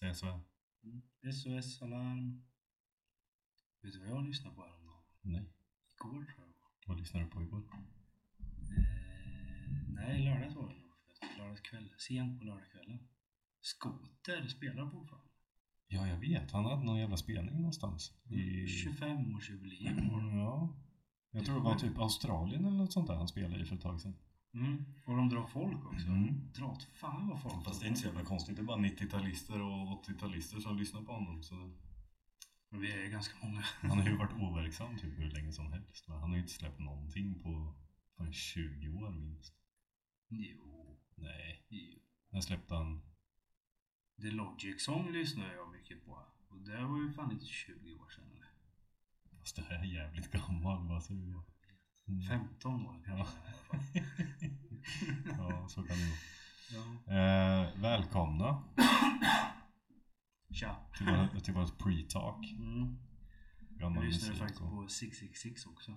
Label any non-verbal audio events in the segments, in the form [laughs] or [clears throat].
Säger så här. Mm. SOS Alarm. Vet du vad jag lyssnade på häromdagen? Nej. Igår tror jag. Vad lyssnade du på igår? Eh, nej, lördags var det nog. förresten. Lördagskväll. Sent på lördagskvällen. Skoter spelar fortfarande. Ja, jag vet. Han hade någon jävla spelning någonstans. I... 25-årsjubileum har de. Ja. Jag tror det var typ Australien eller något sånt där han spelade i för ett tag sedan. Mm. Och de drar folk också. Mm. Dra åt fan vad folk Fast det är inte så jävla konstigt. Det är bara 90-talister och 80-talister som lyssnar på honom. Så Men vi är ganska många. [laughs] han har ju varit overksam typ hur länge som helst. va? Han har ju inte släppt någonting på fan 20 år minst. Jo, Nej. jo. När släppte han? The Logic Song lyssnar jag mycket på. Och det var ju fan inte 20 år sedan eller? Fast det här är jävligt gammal. Vad säger du? Mm. 15 år kanske. i alla fall. Ja, så kan det vara. Ja. Eh, välkomna Tja. till vårt, till vårt pre-talk. Mm. Gammal Jag lyssnade musik faktiskt och- på 666 också.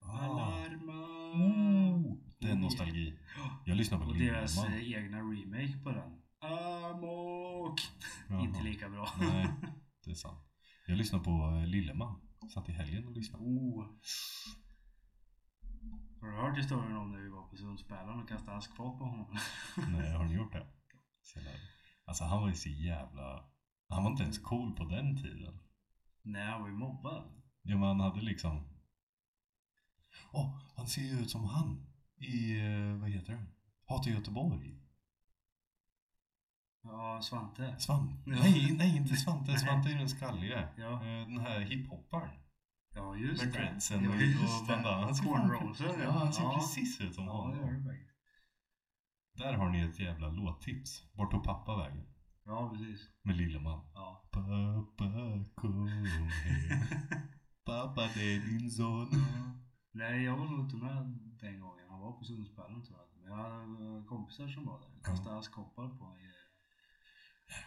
Ah. Alarma! Oh, det är nostalgi. Jag lyssnar på Och deras Lindman. eh, egna remake på den. Amok! Jaha. Inte lika bra. [laughs] Nej, det är sant. Jag lyssnar på eh, Lilleman. Satt i helgen och lyssnade. Oh. Har du hört historien om när vi var på Sundsbällan och kastade askfat på honom? [laughs] Nej, har ni gjort det? Så jävla- Alltså han var ju så jävla... Han var inte ens cool på den tiden. Nej, han var ju mobbad. Ja, men han hade liksom... Åh, han ser ju ut som han i... eh, Vad heter den? Hatar Göteborg. Ja, Svante. Svante. Ja. Nej, nej, inte Svante. Svante är ju den skalliga. Ja. Eh, Den här hiphopparen. Ja, just Med det. dreadsen ja, och- just och det. bandanan. Han ser fan- [laughs] Cornrowsen, Ja, han ser precis ut som Ja, det gör honom. det faktiskt. Där har ni ett jävla låttips. Vart tog pappa vägen? Ja, precis. Med Lilleman. Ja. Pappa kom [laughs] hem. Pappa det är din son. Mm. Nej, jag var nog inte med den gången han var på Sundsbällen tror jag. Men jag hade kompisar som var där. Kastade askkoppar på i-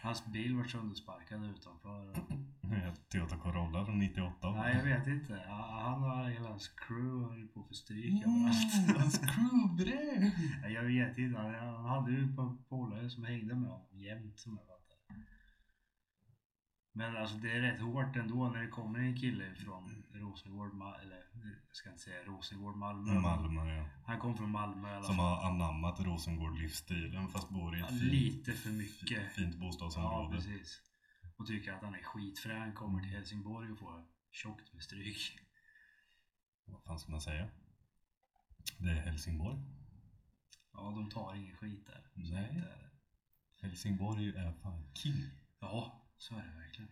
Hans bil var söndersparkad utanför. Toyota Corolla från 98. Nej, jag vet inte. Han han och hela hans crew höll på för stryk Mm, [laughs] överallt. Hans crewbröd. Nej, Jag vet inte. Han han hade ju ett par polare som hängde med honom jämt som jag fattar. Men alltså det är rätt hårt ändå när det kommer en kille Mm. från Rosengård, Ma- eller jag ska inte säga Rosengård, Malmö. Malmö ja. Han kom från Malmö i alla Som fall. har anammat Rosengård-livsstilen fast bor i Ja, ett fint, Lite för mycket. fint Ja, bostadsområde. precis. Och tycker att han är skitfrän. Han kommer till Helsingborg och får tjockt med stryk. Vad fan ska man säga? Det är Helsingborg. Ja, de tar ingen skit där. Så eh, Nej. det är- Helsingborg är fan king. Ja, så är det verkligen.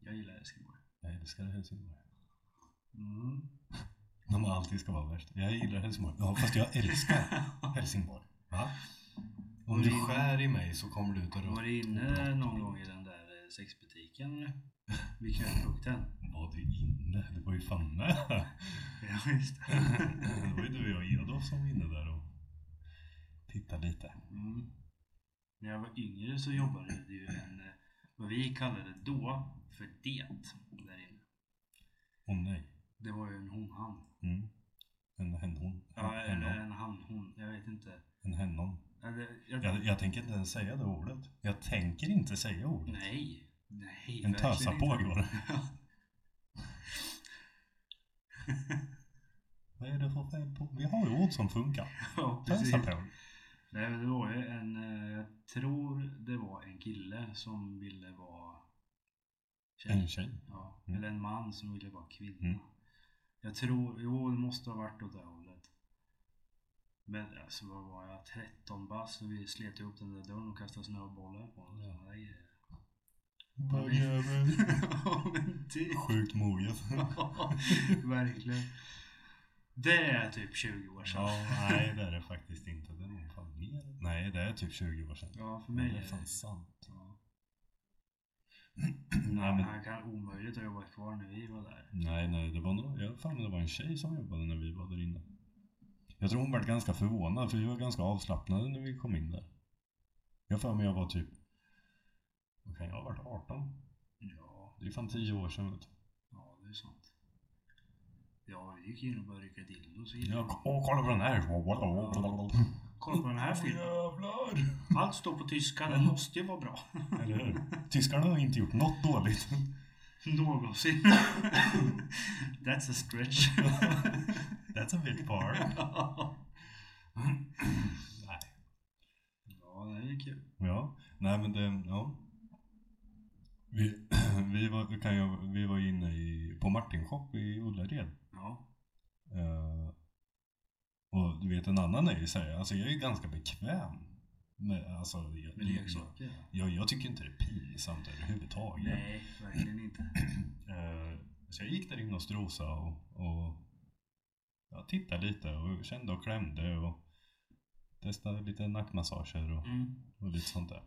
Jag gillar Helsingborg. Jag älskar Helsingborg. Mm. De alltid ska vara värst. Jag gillar Helsingborg. Ja, fast jag älskar [laughs] Helsingborg. Va? Om du skär i mig så kommer du ut och Var du inne någon gång i den där eh, sexbutiken eller? [laughs] Vid knölpukten? Var du inne? Det var ju fan med. [laughs] Ja, just det. Det var ju du och jag Adolf som var inne där och tittade lite. Mm. När jag var yngre så jobbade det ju en, eh, vad vi kallade då, för det där inne. Åh nej. Det var ju en hon-han. Mm. En hennhon. Ja, en, Hennon. en han-hon. Jag vet inte. En hennon. Ja, det- jag- Jag, jag tänker inte ens säga det ordet. Jag tänker inte säga ordet. Nej. Nej, En verkligen tösapåg inte. var det. Vad är det för fel på? Vi har ju ord som funkar. [laughs] Ja, precis. Tösapåg. Nej, men det var ju en, eh, jag tror det var en kille som ville vara tjej. En tjej. Ja, Mm. eller en man som ville vara kvinna. Mm. Jag tror, jo det måste ha varit åt det hållet. Men alltså vad var jag, 13 bass och vi slet ihop den där dörren och kastade snöbollar på den. Ja. Ja. det är- Bögjävel. [laughs] Ja, men typ. [laughs] Sjukt moget. Ja, [laughs] Verkligen. Det är typ 20 [laughs] år sedan. Ja, nej det är det faktiskt inte. Det är nog fan mer. Nej, det är typ 20 år sedan. Ja, för Men mig det är är det. fan sant. Ja. Nej, men, Han kan omöjligt ha jobbat kvar när vi var där. nej, nej, det var nog, jag fan, det var en tjej som jobbade när vi var där inne. Jag tror hon var ganska förvånad för vi var ganska avslappnade när vi kom in där. Jag har för mig jag var typ, vad kan jag ha varit, 18? Ja, Det är fan 10 år sedan vet du. ja det är sant. Ja, vi gick in och började rycka dildos. och Jag grejer. [laughs] åh, kolla på den här! Kolla på den här Åh, filmen. jävlar! Allt står på tyska, den måste ju vara bra. [laughs] Eller hur? Tyskarna har inte gjort något dåligt. Någonsin. [laughs] That's a stretch. That's a bit far. Nej. Ja, det är kul. Ja, nej men det, ja. Vi, [clears throat] vi, var, kan jag, vi var inne i, på Martinshop i Ullared. Ja. Eh, och du vet en annan är ju så här, alltså jag är ju ganska bekväm. Med, alltså, jag, Med jag, leksaker. ja. jag, jag tycker inte det är pinsamt överhuvudtaget. Nej, verkligen inte. Eh, så jag gick där inne och strosade och, och ja, tittade lite och kände och klämde och testade lite nackmassager och Mm. och lite sånt där.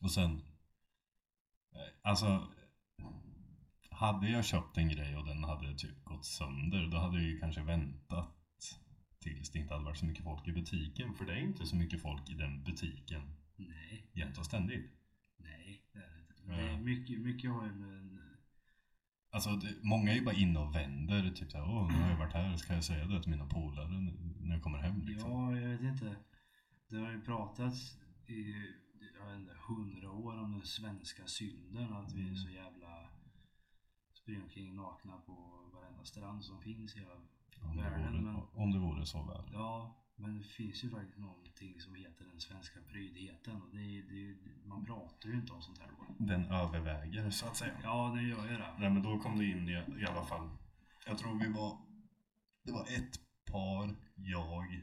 Och sen, eh, alltså, hade jag köpt en grej och den hade typ gått sönder, då hade jag ju kanske väntat tills det inte hade varit så mycket folk i butiken, för det är inte så mycket folk i den butiken Nej, jämt och ständigt. nej, det är det inte. Ja. Nej, mycket, mycket har ju med en... Alltså, det, många är ju bara inne och vänder, typ såhär, åh, nu har jag varit här, ska jag säga det till mina polare n- när jag kommer hem liksom? Ja, jag vet inte. Det har ju pratats i jag vet inte, hundra år om den svenska synden. Att vi är så Mm. jävla springer omkring nakna på varenda strand som finns i hela om, det världen. vore, Men, om det vore så väl. ja, men det finns ju faktiskt någonting som heter den svenska prydheten. Och det, är- det, är- man pratar ju inte om sånt här då. Den överväger så att säga. Ja, det gör ju det. Nej men då kom det in i, i alla fall. Jag tror vi var, det var ett par, jag,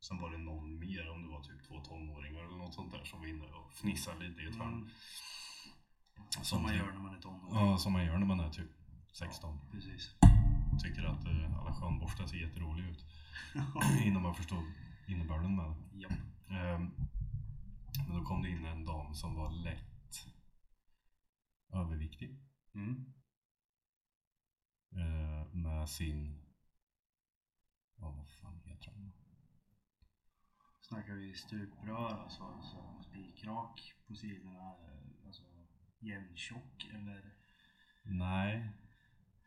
sen var det någon mer om det var typ två tonåringar eller något sånt där som var inne och fnissade lite i ett hörn. Mm, Som som man typ- gör när man är tonåring. Ja, som man gör när man är typ 16. Precis. Och tycker att eh, alla skönborstar ser jätteroliga [laughs] ut. Innan man förstod innebörden med det. Ja. Ehm, Men då kom det in en dam som var lätt överviktig. Mm. eh, med sin... Ja, vad fan heter hon? Snackar vi stuprör alltså, så spikrak på sidorna, eh, alltså jämntjock eller? Nej,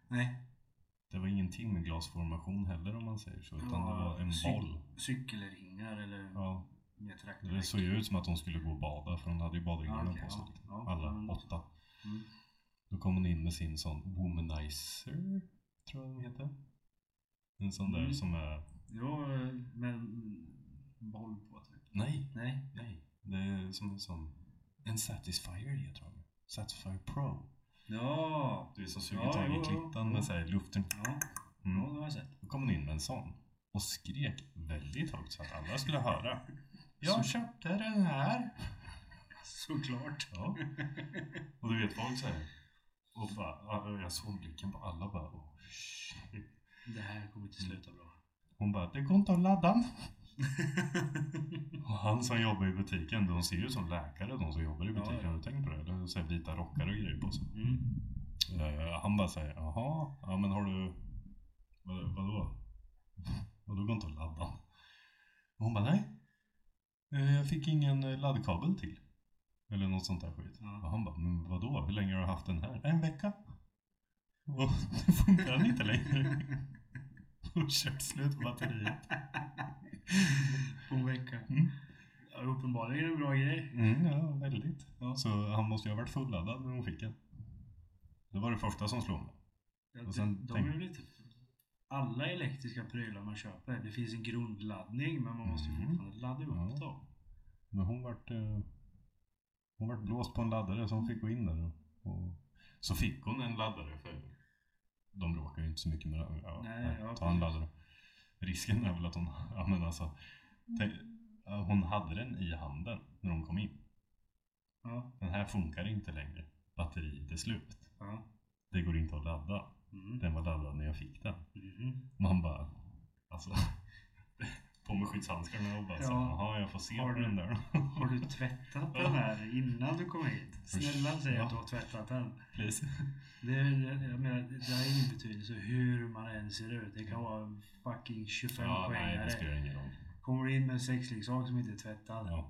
Nej, det var ingenting med glasformation heller om man säger så, utan Ja, det var en sy- boll. cykelringar eller Ja, mer traktor. det såg ju ut som att hon skulle gå och bada, för hon hade ju badringarna Ja, okej, på sig. ja. liksom. Ja, Alla men- åtta. Mm. Då kom hon in med sin sån womanizer, tror jag den heter. En sån där Mm. som är... Jo, eh, men boll på typ. Nej, Nej, nej. Det är som en sån... En Satisfyer heter hon. Satisfyer Pro. ja, Du vet som suger Ja, tag jo, i jo, klittan jo. med såhär luften. ja, Mm. ja, det har jag sett. [laughs] Då kom hon in med en sån och skrek väldigt högt så att alla skulle höra. Jag köpte den här! Såklart. Ja. [laughs] Och du vet folk såhär. Och bara, jag såg blicken på alla bara. Oh, shit. Det här kommer inte sluta [laughs] bra. Hon bara, det går inte att ladda den. Och han som jobbar i butiken, de ser ju ut som läkare de som jobbar i Ja, butiken. ja. Har du tänkt på det? Eller så här vita rockar och grejer på sig. Mm. Eh, han bara säger, jaha, ja men har du, vad, vadå? [laughs] Vadå går inte att ladda? Och hon bara, nej. Eh, Jag fick ingen eh, laddkabel till. Eller något sånt där skit. Ja. Och han bara, men vadå? Hur länge har du haft den här? En vecka. [laughs] Och det funkar den inte längre. [laughs] Och kört slut på batteriet. På en vecka. Mm. Ja, uppenbarligen en bra grej. Mm, ja, väldigt. Ja. Så han måste ju ha varit fulladdad när hon fick den. Det var det första som slog mig. Ja, Och det- sen de tänk- är väl inte... Alla elektriska prylar man köper, det finns en grundladdning men man måste ju Mm. fortfarande ladda upp Ja. dem. Men hon vart, eh, hon vart blåst på en laddare så hon fick gå in där. Och, och, så fick hon en laddare för de bråkar ju inte så mycket med det. Ja, Nej, ja, ta en precis. laddare. Risken är väl att hon, ja men alltså. Tänk, ja, hon hade den i handen när hon kom in. Ja. Den här funkar inte längre. Batteriet är slut. ja. Det går inte att ladda. Mm. Den var laddad när jag fick den. Mhm. Man bara, alltså. [laughs] På med skyddshandskarna och bara så, Ja. jaha jag får se Har på du- den där Har du tvättat den här innan du kom hit? Snälla säg att du har tvättat den. [laughs] Please. Det, är- det- jag menar, det har ingen betydelse hur man än ser ut. Det kan vara en fucking 25 Ja, nej det poängare. spelar ingen roll. Kommer du in med en sexleksak som inte är tvättad? Ja,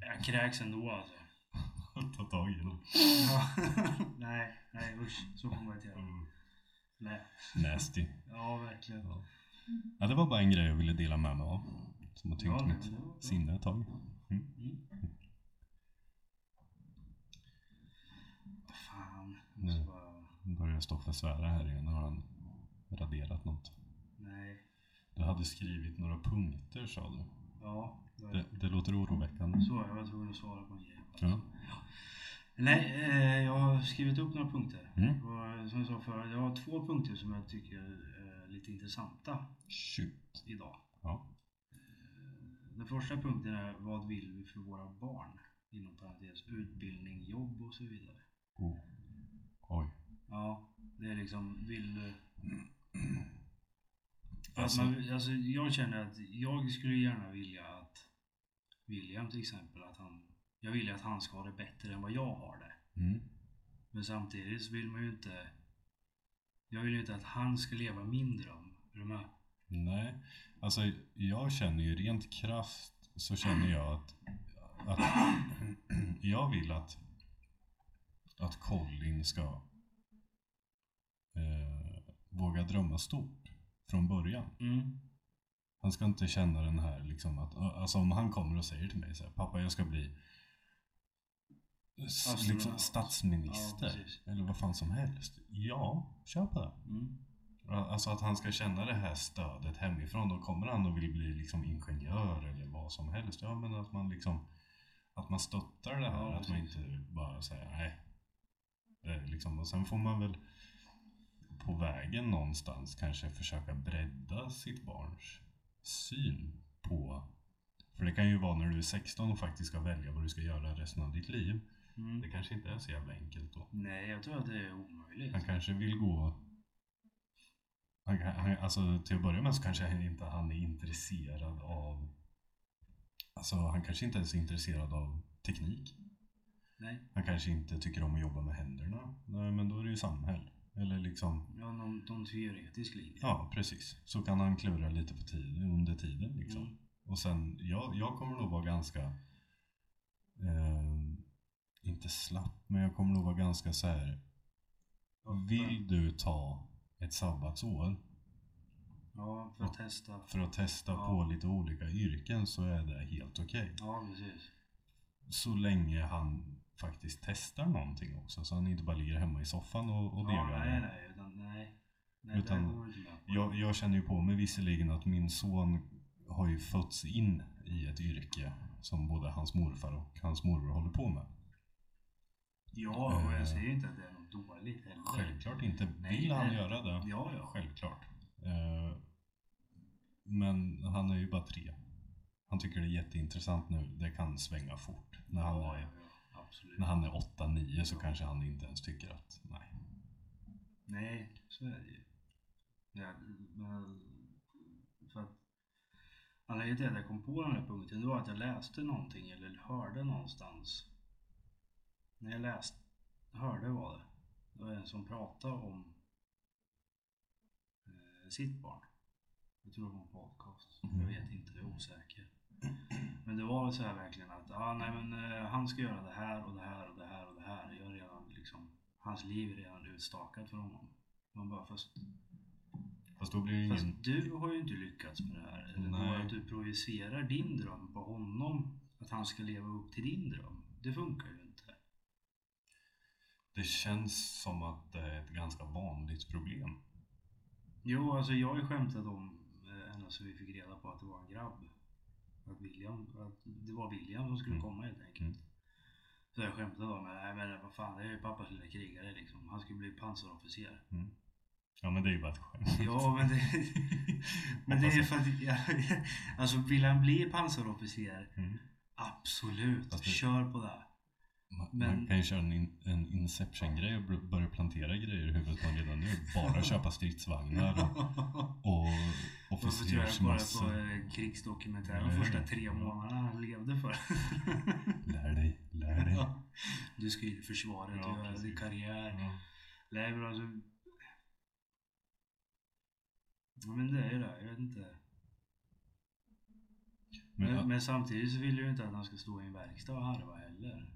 [laughs] Jag kräks ändå alltså. [laughs] ta tag i den. Ja. nej, nej usch. Så får man inte göra. Mm. Nej. Nasty. Ja, verkligen. Ja, det var bara en grej jag ville dela med mig av. som har tyngt Ja, mitt det var- sinne ett tag. Mm. Mm. Fan. Jag Nej. måste bara... Nu börjar Stoffe svära här igen. Nu har han raderat något. Nej. Du hade skrivit några punkter sa du. Ja. det var- Det, det låter oroväckande. Så, jag var tvungen att svara på en grej. Ja. Nej, eh, jag har skrivit upp några punkter. Mm. Och som jag sa förut, jag har två punkter som jag tycker är eh, lite intressanta Shoot. idag. Eh, Ja. Den första punkten är vad vill vi för våra barn? Inom parentes utbildning, jobb och så vidare. Oh. Oj. Ja, det är liksom vill du... Alltså, Alltså, man, alltså, jag känner att jag skulle gärna vilja att William till exempel, att han, jag vill ju att han ska ha det bättre än vad jag har det. mm. Men samtidigt så vill man ju inte... Jag vill ju inte att han ska leva min dröm. Är du med? Nej, alltså jag känner ju rent krasst så känner jag att, att jag vill att, att Colin ska eh, våga drömma stort från början. Mm. Han ska inte känna den här liksom att, alltså om han kommer och säger till mig så här, pappa jag ska bli s- Astronaut. liksom, Ja, statsminister precis. eller vad fan som helst. Ja, kör på det. Mm. Alltså att han ska känna det här stödet hemifrån. Då kommer han och vill bli liksom ingenjör eller vad som helst. Ja, men att man liksom att man stöttar det här. Ja, att man precis. inte bara säger nej. Det är liksom, och sen får man väl på vägen någonstans kanske försöka bredda sitt barns syn på för det kan ju vara när du är 16 och faktiskt ska välja vad du ska göra resten av ditt liv. Det Mm. kanske inte är så jävla enkelt då. Nej, jag tror att det är omöjligt. Han kanske vill gå... Han, han, alltså till att börja med så kanske han inte han är intresserad av... Alltså han kanske inte ens är intresserad av teknik. Nej. Han kanske inte tycker om att jobba med händerna. Nej men då är det ju samhäll. Eller liksom... Ja, någon, någon teoretisk linje. Ja precis. Så kan han klura lite på tiden, under tiden liksom. Mm. Och sen, jag, jag kommer nog vara ganska... ehm, inte slapp, men jag kommer nog vara ganska så här. Vill du ta ett sabbatsår Ja, för att testa. för att testa Ja. på lite olika yrken så är det helt okej. Ja, precis. Så länge han faktiskt testar någonting också så han inte bara ligger hemma i soffan och, och ja, degar. nej, nej, utan nej. Nej, Utan- det går inte med på. Jag, jag känner ju på mig visserligen att min son har ju fötts in i ett yrke som både hans morfar och hans morbror håller på med. Ja, och Eh. jag säger inte att det är något dåligt heller. Självklart inte. Nej, Vill han nej. göra det? Ja, ja. Självklart. Eh, Men han är ju bara tre. Han tycker det är jätteintressant nu. Det kan svänga fort. När han ja, är ja, ja, absolut. när han är 8-9 så kanske han inte ens tycker att, nej. Nej, så är det ju. Ja, men för att anledningen till att jag kom på den här punkten det var att jag läste någonting eller hörde någonstans. När jag läste, hörde var det. Det var en som pratade om eh, sitt barn. Jag tror det var en podcast. Jag vet inte, jag är osäker. Men det var så här verkligen att ah, nej, men, eh, han ska göra det här och det här och det här och det här. Jag är redan, liksom, hans liv är redan utstakat för honom. Man bara, fast, Fast då blir det ingen... fast du har ju inte lyckats med det här. Eller Mm. Nej. bara att du projicerar din dröm på honom. Att han ska leva upp till din dröm. Det funkar ju inte. Det känns som att det är ett ganska vanligt problem. Jo, alltså jag har ju skämtat om eh, ända så vi fick reda på att det var en grabb. Att, William, att det var William som skulle Mm. komma helt enkelt. Mm. Så jag skämtade om att nej men vad fan, det är ju pappas lilla krigare liksom. Han skulle bli [laughs] pansarofficer. Ja men det är ju bara ett skämt. Ja, men det, [laughs] men det är Hoppas för att... [laughs] Ja, alltså vill han bli pansarofficer? Mm. Absolut, Fast det- kör på det. [laughs] Man, Men- man kan ju köra en, in, en inception-grej och br- börja plantera grejer i huvudet på en redan nu. Bara köpa stridsvagnar och, och Varför tror jag bara på officersmössor. eh, krigsdokumentären de Nej. första tre månaderna han levde [laughs] för? Lär dig, lär dig. Ja. Du ska in i försvaret Ja, och göra din precis. Mm. karriär. Ja. Nej men alltså... Ja, men det är ju det, jag vet inte. Men, Men, men samtidigt så vill jag ju inte att han ska stå i en verkstad och harva heller.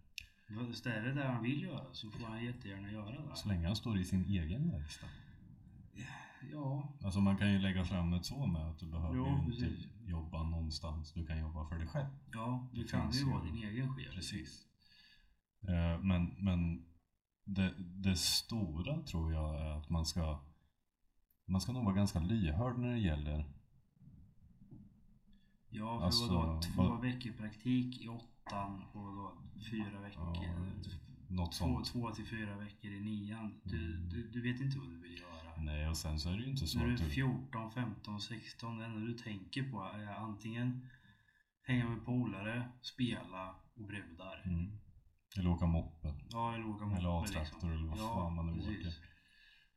Fast är det det han vill göra så får han jättegärna göra det. så länge han står i sin egen verkstad. ja, Alltså man kan ju lägga fram det så med att du behöver Jo, ju inte precis. jobba någonstans. Du kan jobba för dig själv. ja du Det kan finns ju ju- vara din egen chef. Precis. Eh, Men, men det, det stora tror jag är att man ska man ska nog vara ganska lyhörd när det gäller Ja, för Alltså, vadå, två vad- veckor praktik i åttan och vadå, fyra veckor, något två, sånt. två till fyra veckor i nian. Du, du, du vet inte vad du vill göra. Nej, och sen så är det ju inte så När du är att du... 14, 15, 16, det enda du tänker på är antingen hänga med polare, spela och brudar. Mm. Eller åka moppe. Ja, eller åka liksom. Eller moppe A-traktor eller vad fan man nu åker.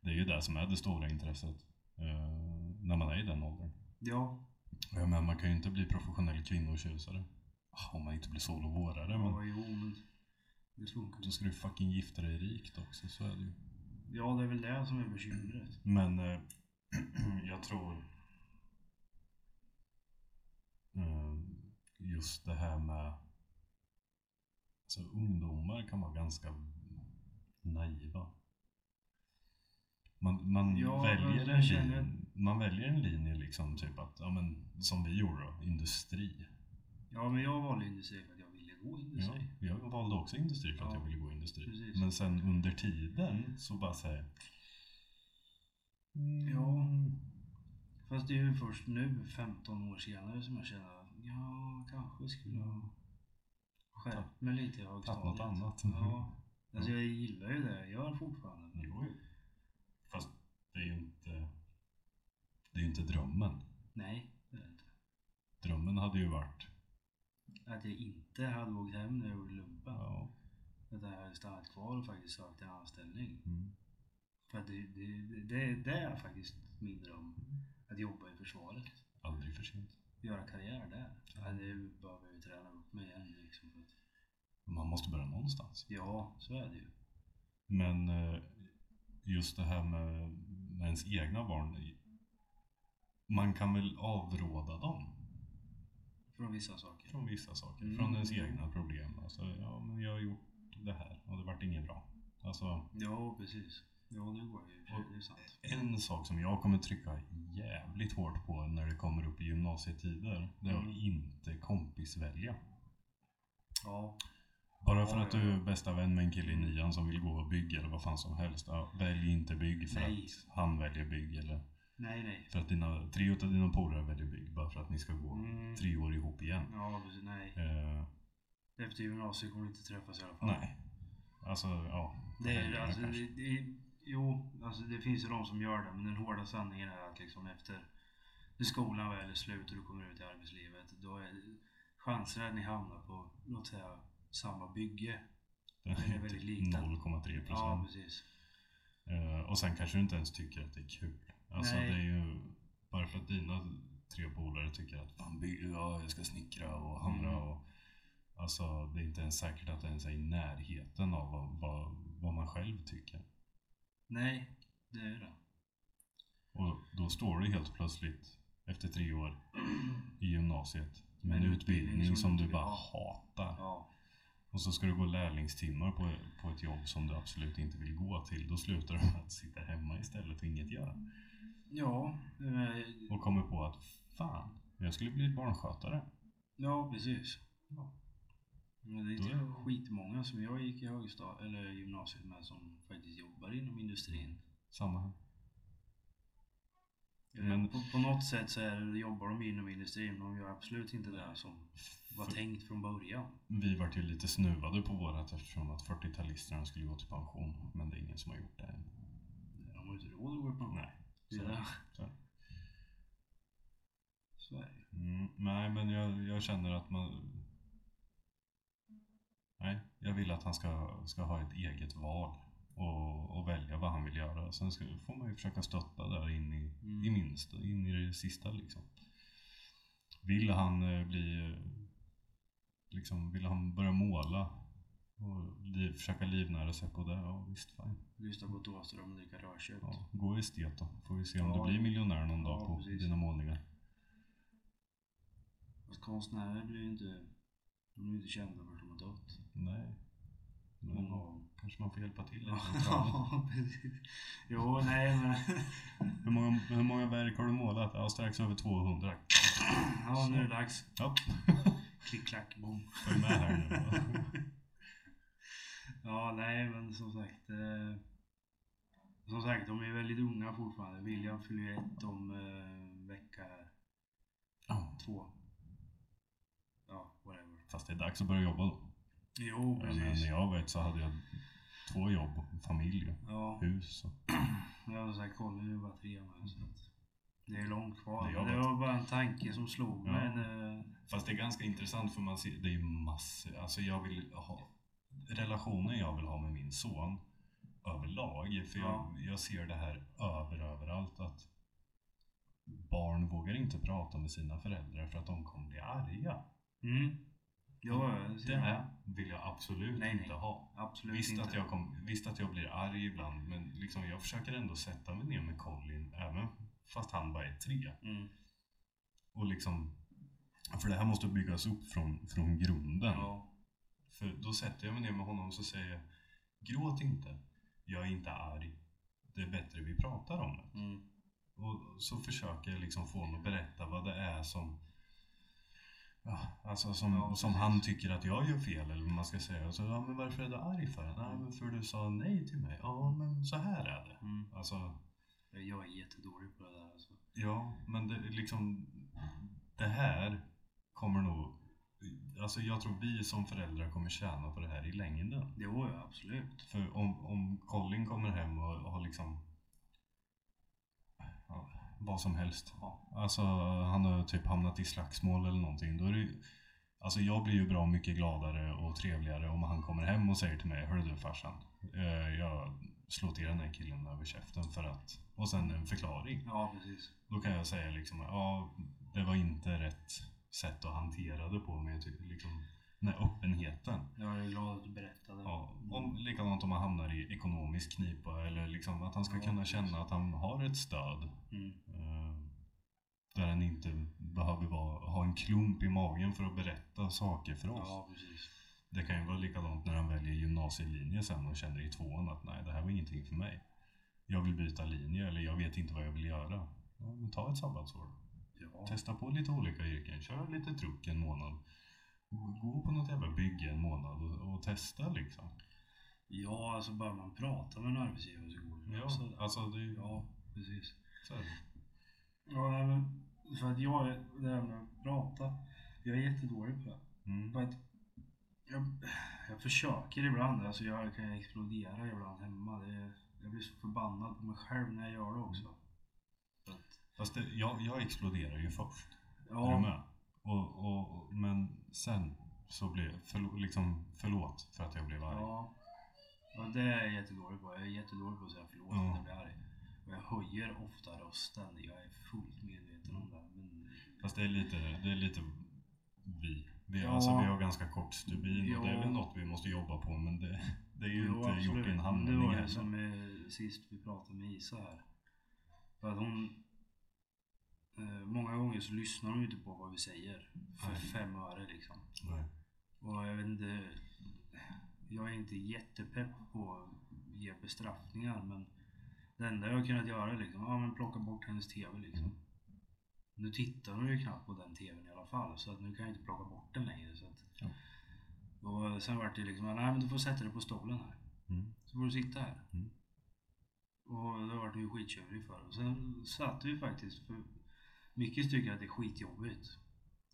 Det är ju det som är det stora intresset eh, när man är i den åldern. Ja, Jag menar, man kan ju inte bli professionell kvinnotjusare. Ah, Om man inte blir solovårare. Men ja, jo men det funkar. Mm. då ska du fucking gifta dig rikt också, så är det ju. Ja, det är väl det som är bekymret. Men eh, [clears throat] jag tror eh, just det här med alltså, ungdomar kan vara ganska naiva. Man, man, Ja, väljer men en jag känner- linje, man väljer en linje liksom typ att, ja, men, som vi gjorde då, industri. Ja, men jag valde industri för att jag ville gå Ja, industri. jag valde också industri för att Ja, jag ville gå i industri. precis. Men sen under tiden så bara säger Ja. Fast det är ju först nu, 15 år senare, som jag känner att ja, kanske skulle ha skärpt mig lite i högstadiet. något annat. Mm. Ja. Alltså jag gillar ju det jag gör fortfarande. Jo, jo. Fast det är ju inte, det är ju inte drömmen. Nej, det är det inte. Drömmen hade ju varit, Att jag inte hade åkt hem när jag gjorde lumpen. ja, Att jag hade stannat kvar och faktiskt sökt en anställning. mm, För att det, det, det, det, det är faktiskt min dröm. Att jobba i försvaret. aldrig för sent. Göra karriär där. Ja, det behöver jag ju träna upp mig igen. Liksom. för att- Man måste börja någonstans. Ja, så är det ju. Men eh, just det här med, med ens egna barn, man kan väl avråda dem Från vissa saker. från vissa saker, Mm. från ens egna problem. Alltså, ja, men jag har gjort det här och det vart inget bra. Alltså, Ja, precis. Ja, det går ju. i och för sig, Det är sant. En sak som jag kommer trycka jävligt hårt på när det kommer upp i gymnasietider, det är Mm. att inte kompisvälja. Ja, Bara Ja, för att ja, du ja. är bästa vän med en kille i nian som vill gå och bygga eller vad fan som helst, ja, välj inte bygg för Nej. att han väljer bygg eller nej, nej. för att dina, tre utav dina polare väljer bygg bara för att ni ska gå Mm. tre år ihop igen. Ja, precis. Nej. Eh, Efter gymnasiet kommer vi inte träffas i alla fall. nej. Alltså, ja. Det är, helgerna alltså, kanske. det, det, jo, alltså det finns ju de som gör det, men den hårda sanningen är att liksom efter när skolan väl är slut och du kommer ut i arbetslivet, då är chansen att ni hamnar på, låt säga, samma bygge. det är [laughs] väldigt litet. 0,3 procent. Ja, precis. Eh, och sen kanske du inte ens tycker att det är kul. Alltså Nej. det är ju bara för att dina tre polare tycker att fan by- ja, jag ska snickra och hamra Mm. och Alltså det är inte ens säkert att det ens är i närheten av vad, vad, vad man själv tycker. Nej, det är det. Och då står du helt plötsligt efter tre år i gymnasiet med en En utbildning utbildning som som du du bara vill hatar. Ja, Och så ska du gå lärlingstimmar på, på ett jobb som du absolut inte vill gå till. Då slutar du med att sitta hemma istället och inget göra. ja, eh, och kommer på att fan, jag skulle bli barnskötare. ja precis. Ja. Men det är Då inte är det- skitmånga som jag gick i högstad- eller gymnasiet med som faktiskt jobbar inom industrin. Samma här. Men- Mm. Men på, på något sätt så är det, jobbar de inom industrin, men de gör absolut inte det som var För- tänkt från början. Vi vart ju lite snuvade på vårat eftersom att 40-talisterna skulle gå till pension. Men det är ingen som har gjort det än. De har ju inte råd att gå i pension. Nej. Det är Så- det. så. Så är det ju. Mm, nej, men jag, jag känner att man... Nej, jag vill att han ska, ska ha ett eget val och, och välja vad han vill göra. Sen ska, får man ju försöka stötta där in i, Mm. i minsta, in i det sista liksom. Vill han eh, bli... eh, Liksom, vill han börja måla och li, försöka livnära sig på det? Ja, visst fan. Mm. Lyssna på Thåström och dricka rödkött. Ja, gå estet då. Får vi se om Ja. du blir miljonär någon dag Ja, på precis. dina målningar. Fast Konstnärer blir ju inte, de blir ju inte kända för att de har dött. Nej. Men- Många av dem. Kanske man får hjälpa till [laughs] lite. med traven. Ja, precis. Jo, nej men... [coughs] hur, många, hur många verk har du målat? Ja, strax över 200. Ja, nu är det dags. Ja, Klick, klack, bom. följ med här nu. Ja, nej men som sagt. Eh, som sagt, de är väldigt unga fortfarande. William fyller ju ett om eh, vecka Ja, två. Ja, whatever. Fast det är dags att börja jobba då. Jag Jo, menar, när precis. jag var ett så hade jag två jobb, familj och Ja, hus. Och... men jag har sagt Colin är ju bara tre med så att det är långt kvar. Det är jag Men Det vet. var bara en tanke som slog Ja. mig. när- Fast det är ganska intressant för man ser, det är ju massor. Alltså jag vill ha relationen jag vill ha med min son överlag. För Ja. jag, jag ser det här över överallt att barn vågar inte prata med sina föräldrar för att de kommer bli arga. Mm. Ja, ja, Det ser jag. här vill jag absolut Nej, nej. inte ha. Absolut Visst inte. att, jag kom, visst att jag blir arg ibland men liksom jag försöker ändå sätta mig ner med Colin även fast han bara är tre. Mm. Och liksom, för det här måste byggas upp från, från grunden. Ja. För då sätter jag mig ner med honom och så säger jag Gråt inte, jag är inte arg. Det är bättre vi pratar om det. Mm. Och så försöker jag liksom få honom att berätta vad det är som ja, Alltså som, Ja, som precis. han tycker att jag gör fel eller vad man ska säga. Och så, ja, men varför är du arg för? Nej, men för du sa nej till mig. Ja, men så här är det. Mm. Alltså, Jag är jättedålig på det där alltså. Ja, men det, är liksom, det här kommer nog... Alltså jag tror vi som föräldrar kommer tjäna på det här i längden. Jo, ja, absolut. För om, om Colin kommer hem och har liksom... Ja, vad som helst. Alltså han har typ hamnat i slagsmål eller någonting. Då är det, ju- alltså jag blir ju bra mycket gladare och trevligare om han kommer hem och säger till mig Hörru du farsan, eh, jag slår till den här killen över käften för att... Och sen en förklaring. Ja, precis. Då kan jag säga liksom, ja, det var inte rätt sätt att hantera det på med typ, liksom, den här öppenheten. Jag är glad att du berättade. Ja, Mm. om, likadant om han hamnar i ekonomisk knipa eller liksom att han ska Ja, kunna precis. känna att han har ett stöd Mm. eh, där han inte behöver vara, ha en klump i magen för att berätta saker för oss. Ja, precis. Det kan ju vara likadant när han väljer gymnasielinje sen och känner i tvåan att nej, det här var ingenting för mig. Jag vill byta linje eller jag vet inte vad jag vill göra. Ja, men ta ett sabbatsår då. Ja. Testa på lite olika yrken. Kör lite truck en månad. Gå på något jävla bygge en månad och, och testa liksom. ja, alltså bara man pratar med en arbetsgivare så går det. Ja, Alltså, alltså det är ju... ja precis. så är det. Ja, nej, men för att jag, är- det här med att prata, jag är jättedålig på det. Mm. För att jag, jag försöker ibland, alltså jag kan explodera ibland hemma. Det, jag blir så förbannad på mig själv när jag gör det också. Så att, Fast det, jag, jag exploderar ju först. Är du ja, med? Och, och, och- men sen så blir jag förlo, liksom, förlåt för att jag blev arg. ja, ja, det är jag jättedålig på. Jag är jättedålig på att säga förlåt Ja. när jag blir arg. Och jag höjer ofta rösten, jag är fullt medveten om det. Men Fast det är lite, det är lite vi. Vi, Ja. alltså, vi har ganska kort stubin och det är Ja. väl något vi måste jobba på men det, det är ju Jo, inte gjort i en absolut. handling Det var heller. det som eh, sist vi pratade med Isa här. För att hon... Eh, många gånger så lyssnar hon ju inte på vad vi säger. För Nej. fem öre liksom. Nej. Och jag vet inte... Jag är inte jättepepp på att ge bestraffningar men det enda jag har kunnat göra är liksom, ja men plocka bort hennes TV liksom. Mm. Nu tittar hon ju knappt på den TVn i alla fall så att nu kan jag inte plocka bort den längre. Så att, Ja. Och sen vart det liksom, nej men du får sätta dig på stolen här. Mm. Så får du sitta här. Mm. Och det vart ju skitkörig för. Och sen satt vi faktiskt, för Micke tycker att det är skitjobbigt.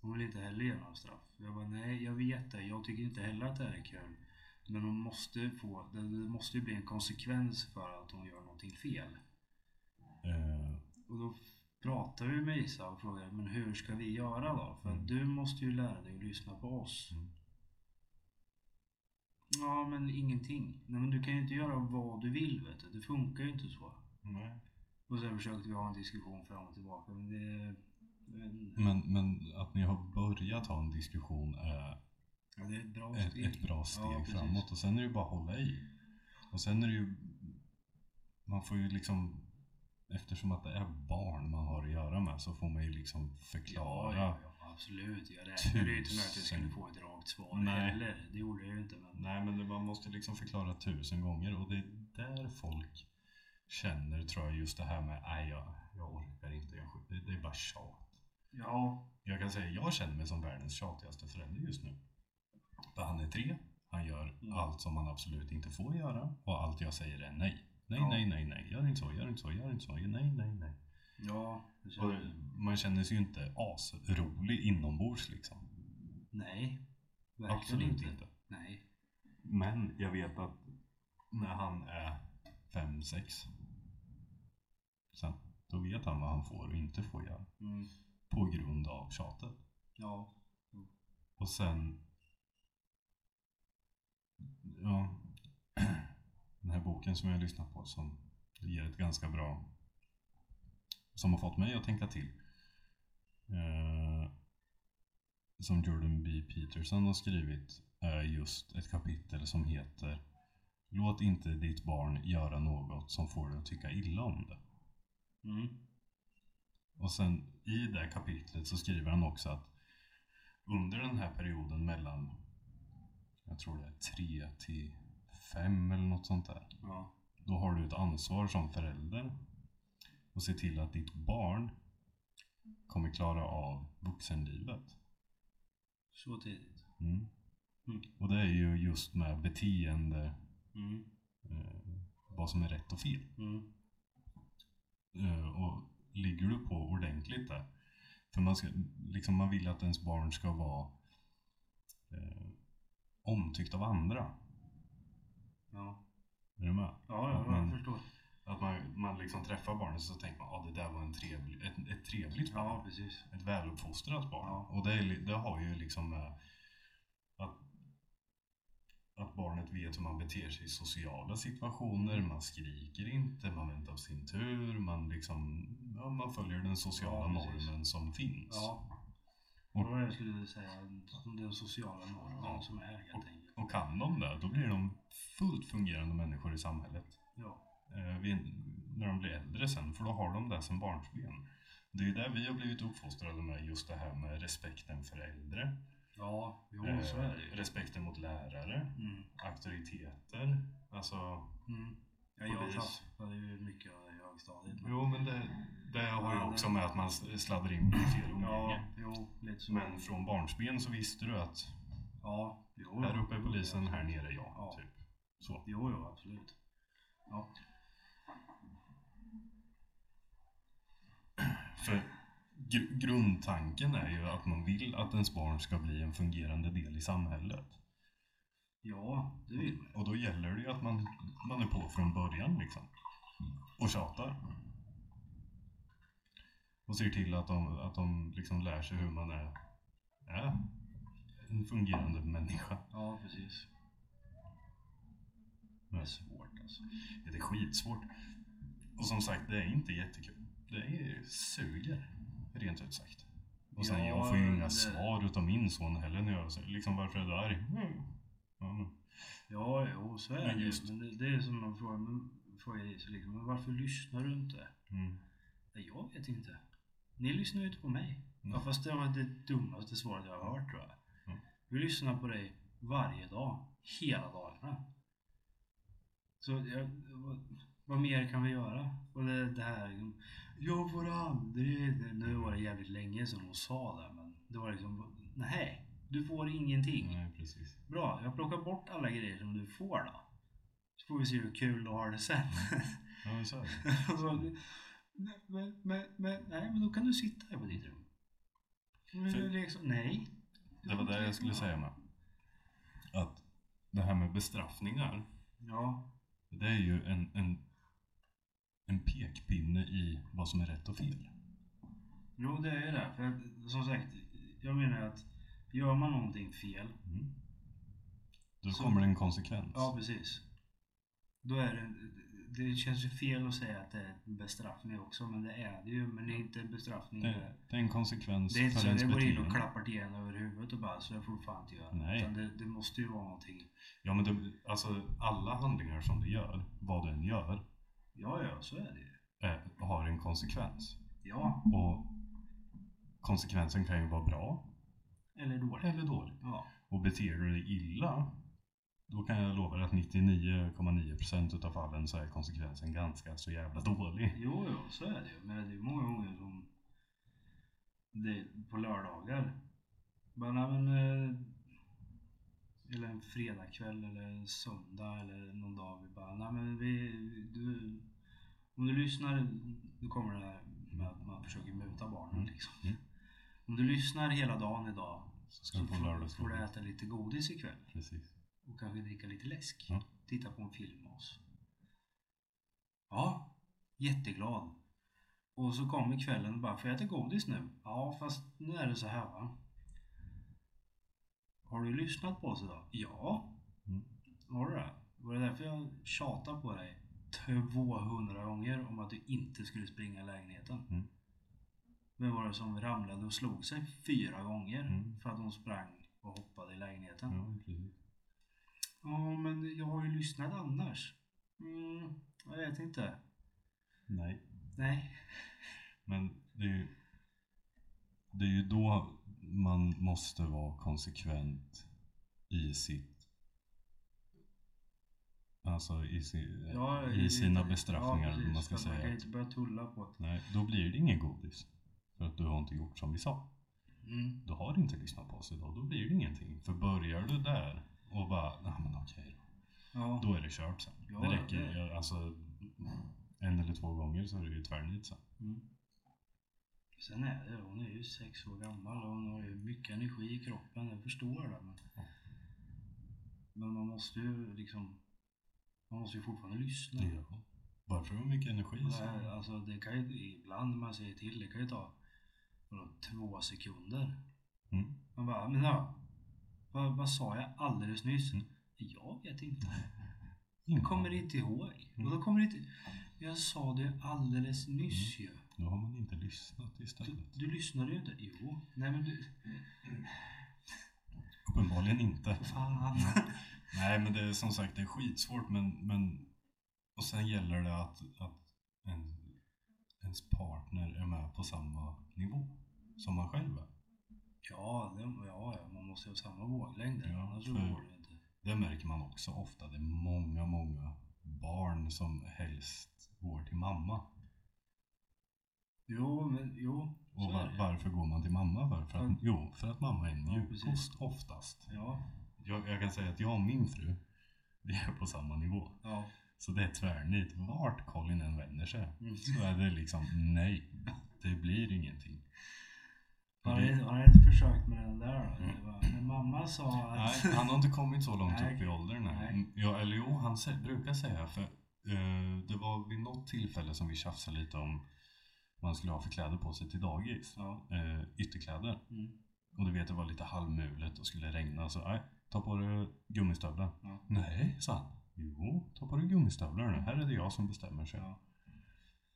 Hon vill inte heller ge några straff. Jag bara, nej jag vet det, jag tycker inte heller att det här är kul. Men hon måste få, det det måste ju bli en konsekvens för att hon gör någonting fel. Eh, Och då pratade vi med Isa och frågade, men hur ska vi göra då? För att du måste ju lära dig att lyssna på oss. Mm. Ja, men ingenting. Nej, men du kan ju inte göra vad du vill, vet du. Det funkar ju inte så. nej. Och sen försökte vi ha en diskussion fram och tillbaka, men det... Men, Men, men att ni har börjat ha en diskussion är ja, det är ett bra ett, steg. ett bra steg Ja, precis. framåt. Och sen är det ju bara att hålla i. Och sen är det ju... Man får ju liksom eftersom att det är barn man har att göra med så får man ju liksom Ja, förklara. ja, ja, absolut. Jag räknade ju inte med att jag skulle få ett rakt svar Nej. heller. Det gjorde jag ju inte. Men Nej men det- man måste liksom förklara tusen gånger och det är där folk känner tror jag just det här med nej jag, jag orkar inte, jag, sk- det, det är bara tjat. ja, Jag kan säga jag känner mig som världens tjatigaste förälder just nu. För han är tre, han gör Mm. allt som han absolut inte får göra och allt jag säger är nej. Nej, Ja. nej, nej, nej, gör inte så, gör inte så, gör inte så, nej, nej, nej. ja. jag Och känner- man känner sig ju inte asrolig inombords liksom. Nej, verkligen Absolut inte. inte. Nej. Men jag vet att när han är 5-6 sen, då vet han vad han får och inte får göra Mm. på grund av tjatet. Ja, Och sen... Ja, [clears throat] den här boken som jag har lyssnat på som ger ett ganska bra... Som har fått mig att tänka till. Eh, som Jordan B. Peterson har skrivit är just ett kapitel som heter Låt inte ditt barn göra något som får dig att tycka illa om det. mm. Och sen i det här kapitlet så skriver han också att under den här perioden mellan, jag tror det är 3 till 5 eller något sånt där, ja. då har du ett ansvar som förälder och se till att ditt barn kommer klara av vuxenlivet. så tidigt. Mm. Mm. Och det är ju just med beteende, Mm. eh, vad som är rätt och fel. Mm. Eh, och ligger du på ordentligt där. För man, ska, liksom man vill att ens barn ska vara eh, omtyckt av andra. Ja, Är du med? ja, ja, Mm. jag förstår. Att man, man liksom träffar barnet så tänker man att ah, det där var en trevlig, ett, ett trevligt barn. Ja, precis. Ett väluppfostrat barn. Ja. Och det, är, li- det har ju liksom eh, att, att barnet vet hur man beter sig i sociala situationer. Man skriker inte, man väntar på sin tur. Man, liksom, ja, man följer den sociala Ja, precis. normen som finns. Ja. Och- Det var det jag skulle säga, den sociala normen Ja. som är helt enkelt. Och kan de det, då blir de fullt fungerande människor i samhället. Ja, Eh, vid, när de blir äldre sen, för då har de det som barnsben. Det är ju där vi har blivit uppfostrade med just det här med respekten för äldre. ja jo, eh, så är det ju. respekten mot lärare, Mm. auktoriteter. Alltså, Mm. Ja, jag Polis. tappade ju mycket av det i högstadiet. men- jo men det, det har ju Ja, också det- med att man s- sladdar in i fel Ja, umgänge. jo, lite så. Men från barnsben så visste du att Ja, jo. här ja. uppe är polisen, här nere är jag. Ja. Typ. Så. Jo, jo, absolut. Ja. För gr- grundtanken är ju att man vill att ens barn ska bli en fungerande del i samhället. Ja, det vill man ju. Mm. Och då gäller det ju att man, man är på från början liksom. Mm. Och tjatar. Och ser till att de, att de liksom lär sig hur man är, är en fungerande människa. Ja, precis. Det är svårt alltså. Ja, Det är skitsvårt. Och som sagt, det är inte jättekul. Det är, suger, rent ut sagt. Och sen, Ja, jag får ju inga det- svar utav min son heller när jag säger liksom varför är du arg? Mm. Ja, men, Ja, jo, så är Men det ju. just- Men det, det är som man frågar, men, frågar dig så liksom, men varför lyssnar du inte? mm. Ja, jag vet inte. Ni lyssnar ju inte på mig. Ja, Mm. fast det var det dummaste svaret jag har hört tror jag. Mm. Vi lyssnar på dig varje dag, hela dagarna. Så jag, vad, vad mer kan vi göra? Och det, det här, jag får aldrig... det- Nu var det jävligt länge sedan hon sa det, men det var liksom, nej, du får ingenting. Nej, precis. Bra, jag plockar bort alla grejer som du får då. Så får vi se hur kul du har det sen. Ja, men så är det. alltså, Mm. nej, men, men, men, nej, men då kan du sitta här på ditt rum. Men För- det är liksom, nej. Det var det jag skulle säga med. Att det här med bestraffningar, Ja, det är ju en, en, en pekpinne i vad som är rätt och fel. jo det är ju det. För att, som sagt, jag menar att gör man någonting fel. Mm. Då Så- kommer det en konsekvens. Ja, precis. Då är det, det känns ju fel att säga att det är en bestraffning också, men det är det ju. Men det är inte en bestraffning. det, det är en konsekvens Det är inte för så ens att jag går in beteende. och klappar till en över huvudet och bara så jag får fan inte göra. Nej. Utan det, det måste ju vara någonting. Ja, men det, alltså, alla handlingar som du gör, vad du än gör, Ja, ja, så är det ju. eh, har en konsekvens. Ja, Och konsekvensen kan ju vara bra eller dåligt. eller dålig. Ja, Och beter du dig illa, då kan jag lova dig att 99,9% utav fallen så är konsekvensen ganska så jävla dålig. jo, jo, så är det ju. Men det är många gånger som det på lördagar. Bara, nej, men, eh, eller en fredagkväll eller en söndag eller någon dag. Vi bara, nej men vi, du, om du lyssnar, nu kommer det här med att man försöker muta barnen Mm. liksom. Mm. Om du lyssnar hela dagen idag Så ska så du få får, får du lördagsgodis. äta lite godis ikväll. Precis. och kanske dricka lite läsk. Ja. Titta på en film med oss. Ja, jätteglad. Och så kommer kvällen och bara, får jag äta godis nu? Ja, fast nu är det så här va. Har du lyssnat på oss idag? Ja. Mm. Har du det? Var det därför jag tjatade på dig 200 gånger om att du inte skulle springa i lägenheten? Mm. Vem var det som ramlade och slog sig fyra gånger Mm. för att hon sprang och hoppade i lägenheten? Ja, precis. Ja, men jag har ju lyssnat annars. Mm, jag vet inte. Nej. Nej. Men det är, ju, det är ju då man måste vara konsekvent i sitt Alltså i, si, Ja, i sina ja, bestraffningar, precis. eller vad man ska För att Man kan ju säga. inte börja tulla på det. Nej, då blir det ingen godis. För att du har inte gjort som vi sa. Mm. Du har inte lyssnat på oss idag, då blir det ingenting. För börjar du där och bara, nej men okej då. Ja. Då är det kört sen. Ja, det ja, räcker det- jag- alltså en eller två gånger så är det ju tvärnit sen. Mm. Sen är det, hon är ju sex år gammal och hon har ju mycket energi i kroppen, jag förstår det. Men, Ja. men man måste ju liksom, man måste ju fortfarande lyssna. Ja. Bara för att ha mycket energi så. Nej, alltså det kan ju, ibland när man säger till, det kan ju ta vadå, två sekunder. Mm. Man bara, men ja, vad, vad sa jag alldeles nyss? Mm. Jag vet inte. Ingen Jag kommer aning. inte ihåg. Mm. Och då kommer det inte... Jag sa det ju alldeles nyss ju. Då har man inte lyssnat Du, istället. du lyssnade ju inte. Jo. Nej men du... Uppenbarligen inte. [laughs] Fan. Nej men det är som sagt det är skitsvårt men, men och sen gäller det att, att en, ens partner är med på samma nivå som man själv är. Ja, det, ja, ja, man måste ju ha samma våglängd där. Ja, Annars så för- går det ju inte. Det märker man också ofta. Det är många, många barn som helst går till mamma. Jo, men jo. Och så är va- det ju. varför går man till mamma? För? För att, Mm. Jo, för att mamma är en Ja, mjukkost oftast. Ja. Jag, jag kan säga att jag och min fru, vi är på samma nivå. Ja. Så det är tvärnit. Vart Colin än vänder sig Mm. så är det liksom nej, det blir ingenting. Har Det- ni, har ni inte försökt med den där då? Det var, men mamma sa att... Mm. Nej, han har inte kommit så långt Nej. upp i åldern än. Nej. Ja, eller jo, han sä- brukar säga för eh, det var vid något tillfälle som vi tjafsade lite om vad han skulle ha för kläder på sig till dagis. Ja. Eh, ytterkläder. Mm. Och du vet, det var lite halvmulet och skulle regna så nej, ta på dig gummistövlar. Ja. Nej, sa han. Jo, ta på dig gummistövlar nu. Här är det jag som bestämmer sig. Ja.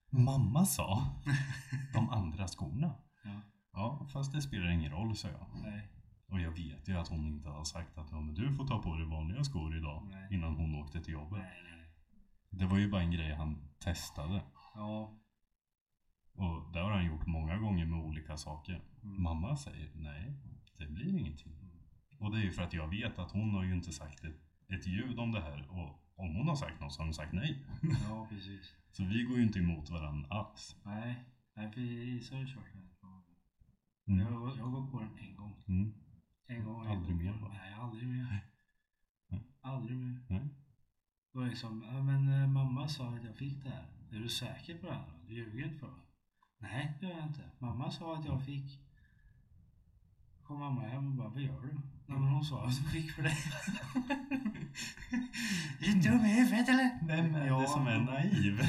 Mamma sa [laughs] de andra skorna. Ja. Ja, fast det spelar ingen roll, sa jag. Nej. Och jag vet ju att hon inte har sagt att ja, men du får ta på dig vanliga skor idag Nej. innan hon åkte till jobbet. Nej, nej. Det var ju bara en grej han testade. Ja. Och det har han gjort många gånger med olika saker. Mm. Mamma säger nej, det blir ingenting. Och det är ju för att jag vet att hon har ju inte sagt ett, ett ljud om det här och om hon har sagt något så har hon sagt nej. Ja, precis. Så vi går ju inte emot varandra alls. Nej, nej för Isa har ju kört den. Jag, Mm. har- jag har gått på den en gång. Mm. [laughs] En gång har jag Aldrig gått på mer, den. va? Nej, aldrig mer. Nej. Aldrig mer. Nej. Det var liksom, ja men eh, mamma sa att jag fick det här. Är du säker på det här då? Du ljuger inte för mig? Nej, det gör jag inte. Mamma sa att jag fick. Kom mamma hem och bara, vad gör du? Nej men hon sa att jag fick för det. [laughs] är du dum i huvudet eller? Vem är det som är naiv? [laughs]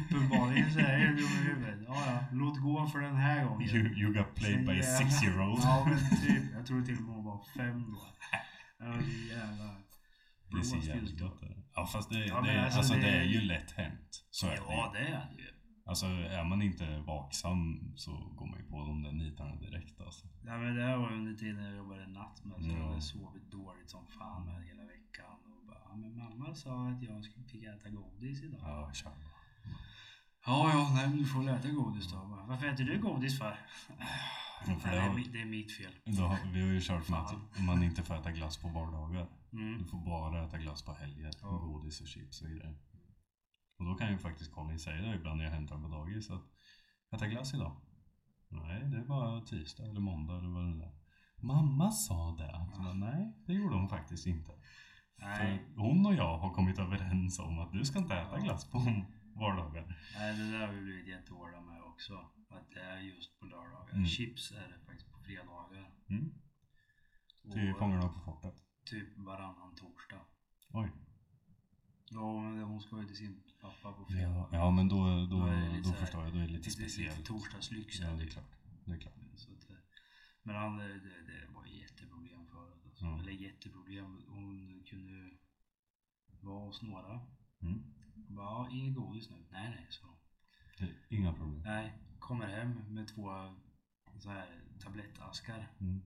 Uppenbarligen så är jag dum i huvudet. Ja, ja. Låt gå för den här gången. You, you got played by a Jävlar. six year old. [laughs] Ja men typ, jag tror till och med hon var fem då. Ja men jävlar. Det är så Blåst jävligt just då. gott. det. Ja fast det, Ja, det, men är- alltså, alltså, det, det- är ju lätt hänt. Så är det Ja ju. det är det ju. Alltså är man inte vaksam så går man ju på de där nitarna direkt alltså. Ja men det här var under tiden jag jobbade natt med så jag Ja. hade sovit dåligt som fan med hela veckan. Och bara, ja, men mamma sa att jag skulle fick äta godis idag. Ja, tja. Ja, ja, nej, men du får väl äta godis då. Bara, Varför äter du godis för? Men för det Nej, det, är, har, mi- det är mitt fel. då har, vi har ju kört med Fan. att man inte får äta glass på vardagar. Du Mm. får bara äta glass på helger. Ja. Godis och chips och grejer. Och då kan ju faktiskt Colin säga det ibland när jag hämtar honom på dagis att äta glass idag? Nej, det var tisdag eller måndag eller vad det är. Mamma sa det. Så bara, Nej, det gjorde hon faktiskt inte. Nej. För hon och jag har kommit överens om att du ska inte äta Ja. glass på vardagar. nej, det där har vi blivit jättehårda med också. Att det är just på lördagar. Mm. Chips är det faktiskt på fredagar. Mm. Och eh, Till Fångarna på fortet. typ varannan torsdag. Oj. Ja, men hon ska ju till sin pappa på fredag. Ja, ja men då, då, Då är det lite då så här- förstår jag. Då är det Det lite är lite liksom. speciellt. torsdagslyx. Ja, det är klart. Det är klart. Så att, eh, men han, eh, det, det var ett jätteproblem förut. Alltså. Ja. Eller jätteproblem. Hon kunde vara hos några. Mm. Och bara, "Ja, inget godis nu. Nej, nej, sa hon. Det är inga problem. Nej, kommer hem med två så här, tablettaskar. Mm.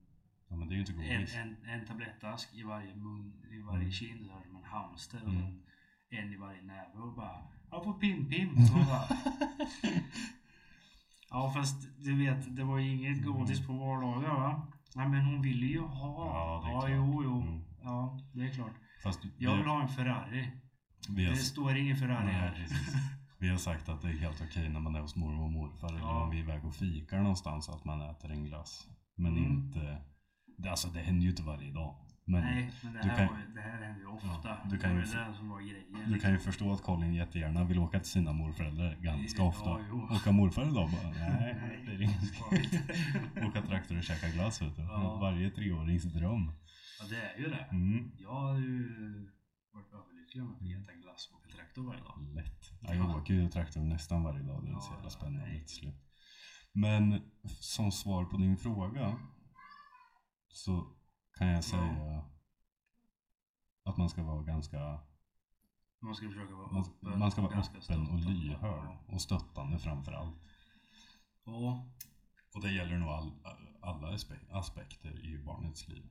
Ja, men det är ju inte En, godis. en, en tablettask i varje mun, i varje Mm. kind, så här som en hamster. Och Mm. sen en i varje näve och bara Ja, på pim-pim. [laughs] Så hon bara, ja, fast du vet, det var ju Mm. inget godis på vardagar va? Nej, men hon ville ju ha. Ja, det är klart. jo, jo. Mm. Ja, det är klart. Fast Jag vi, vill ha en Ferrari. vi, har, Det står ingen Ferrari Nej, här. precis. vi har sagt att det är helt okej när man är hos mormor och morfar eller Ja. om vi är iväg och fikar någonstans att man äter en glass. Men Mm. inte... Det, alltså det händer ju inte varje dag. Men Nej, men det du här, kan- var ju, det här händer ju ofta. Ja, du kan ju det var ju få- det som var grejen. du kan ju förstå att Colin jättegärna vill åka till sina morföräldrar ganska Ja, ofta. jo. Åka morfar idag bara, [laughs] nej, Nej, det är ingen ska inte. Åka traktor och käka glass vet du. Ja. Varje treårings dröm. [laughs] Ja, det är ju det. Mm. Jag har ju varit överlycklig om att få äta glass och åka traktor varje dag. Lätt. Ja, jag åker ju traktor nästan varje dag. Det är så Ja, jävla ja, spännande nej. till slut. Men som svar på din fråga så kan jag säga att man ska vara ganska Man ska försöka vara man, öppen. man ska vara ganska alltså. öppen och stöttande. lyhörd och stöttande framför allt. Ja, Och det gäller nog all, alla aspe- aspekter i barnets liv.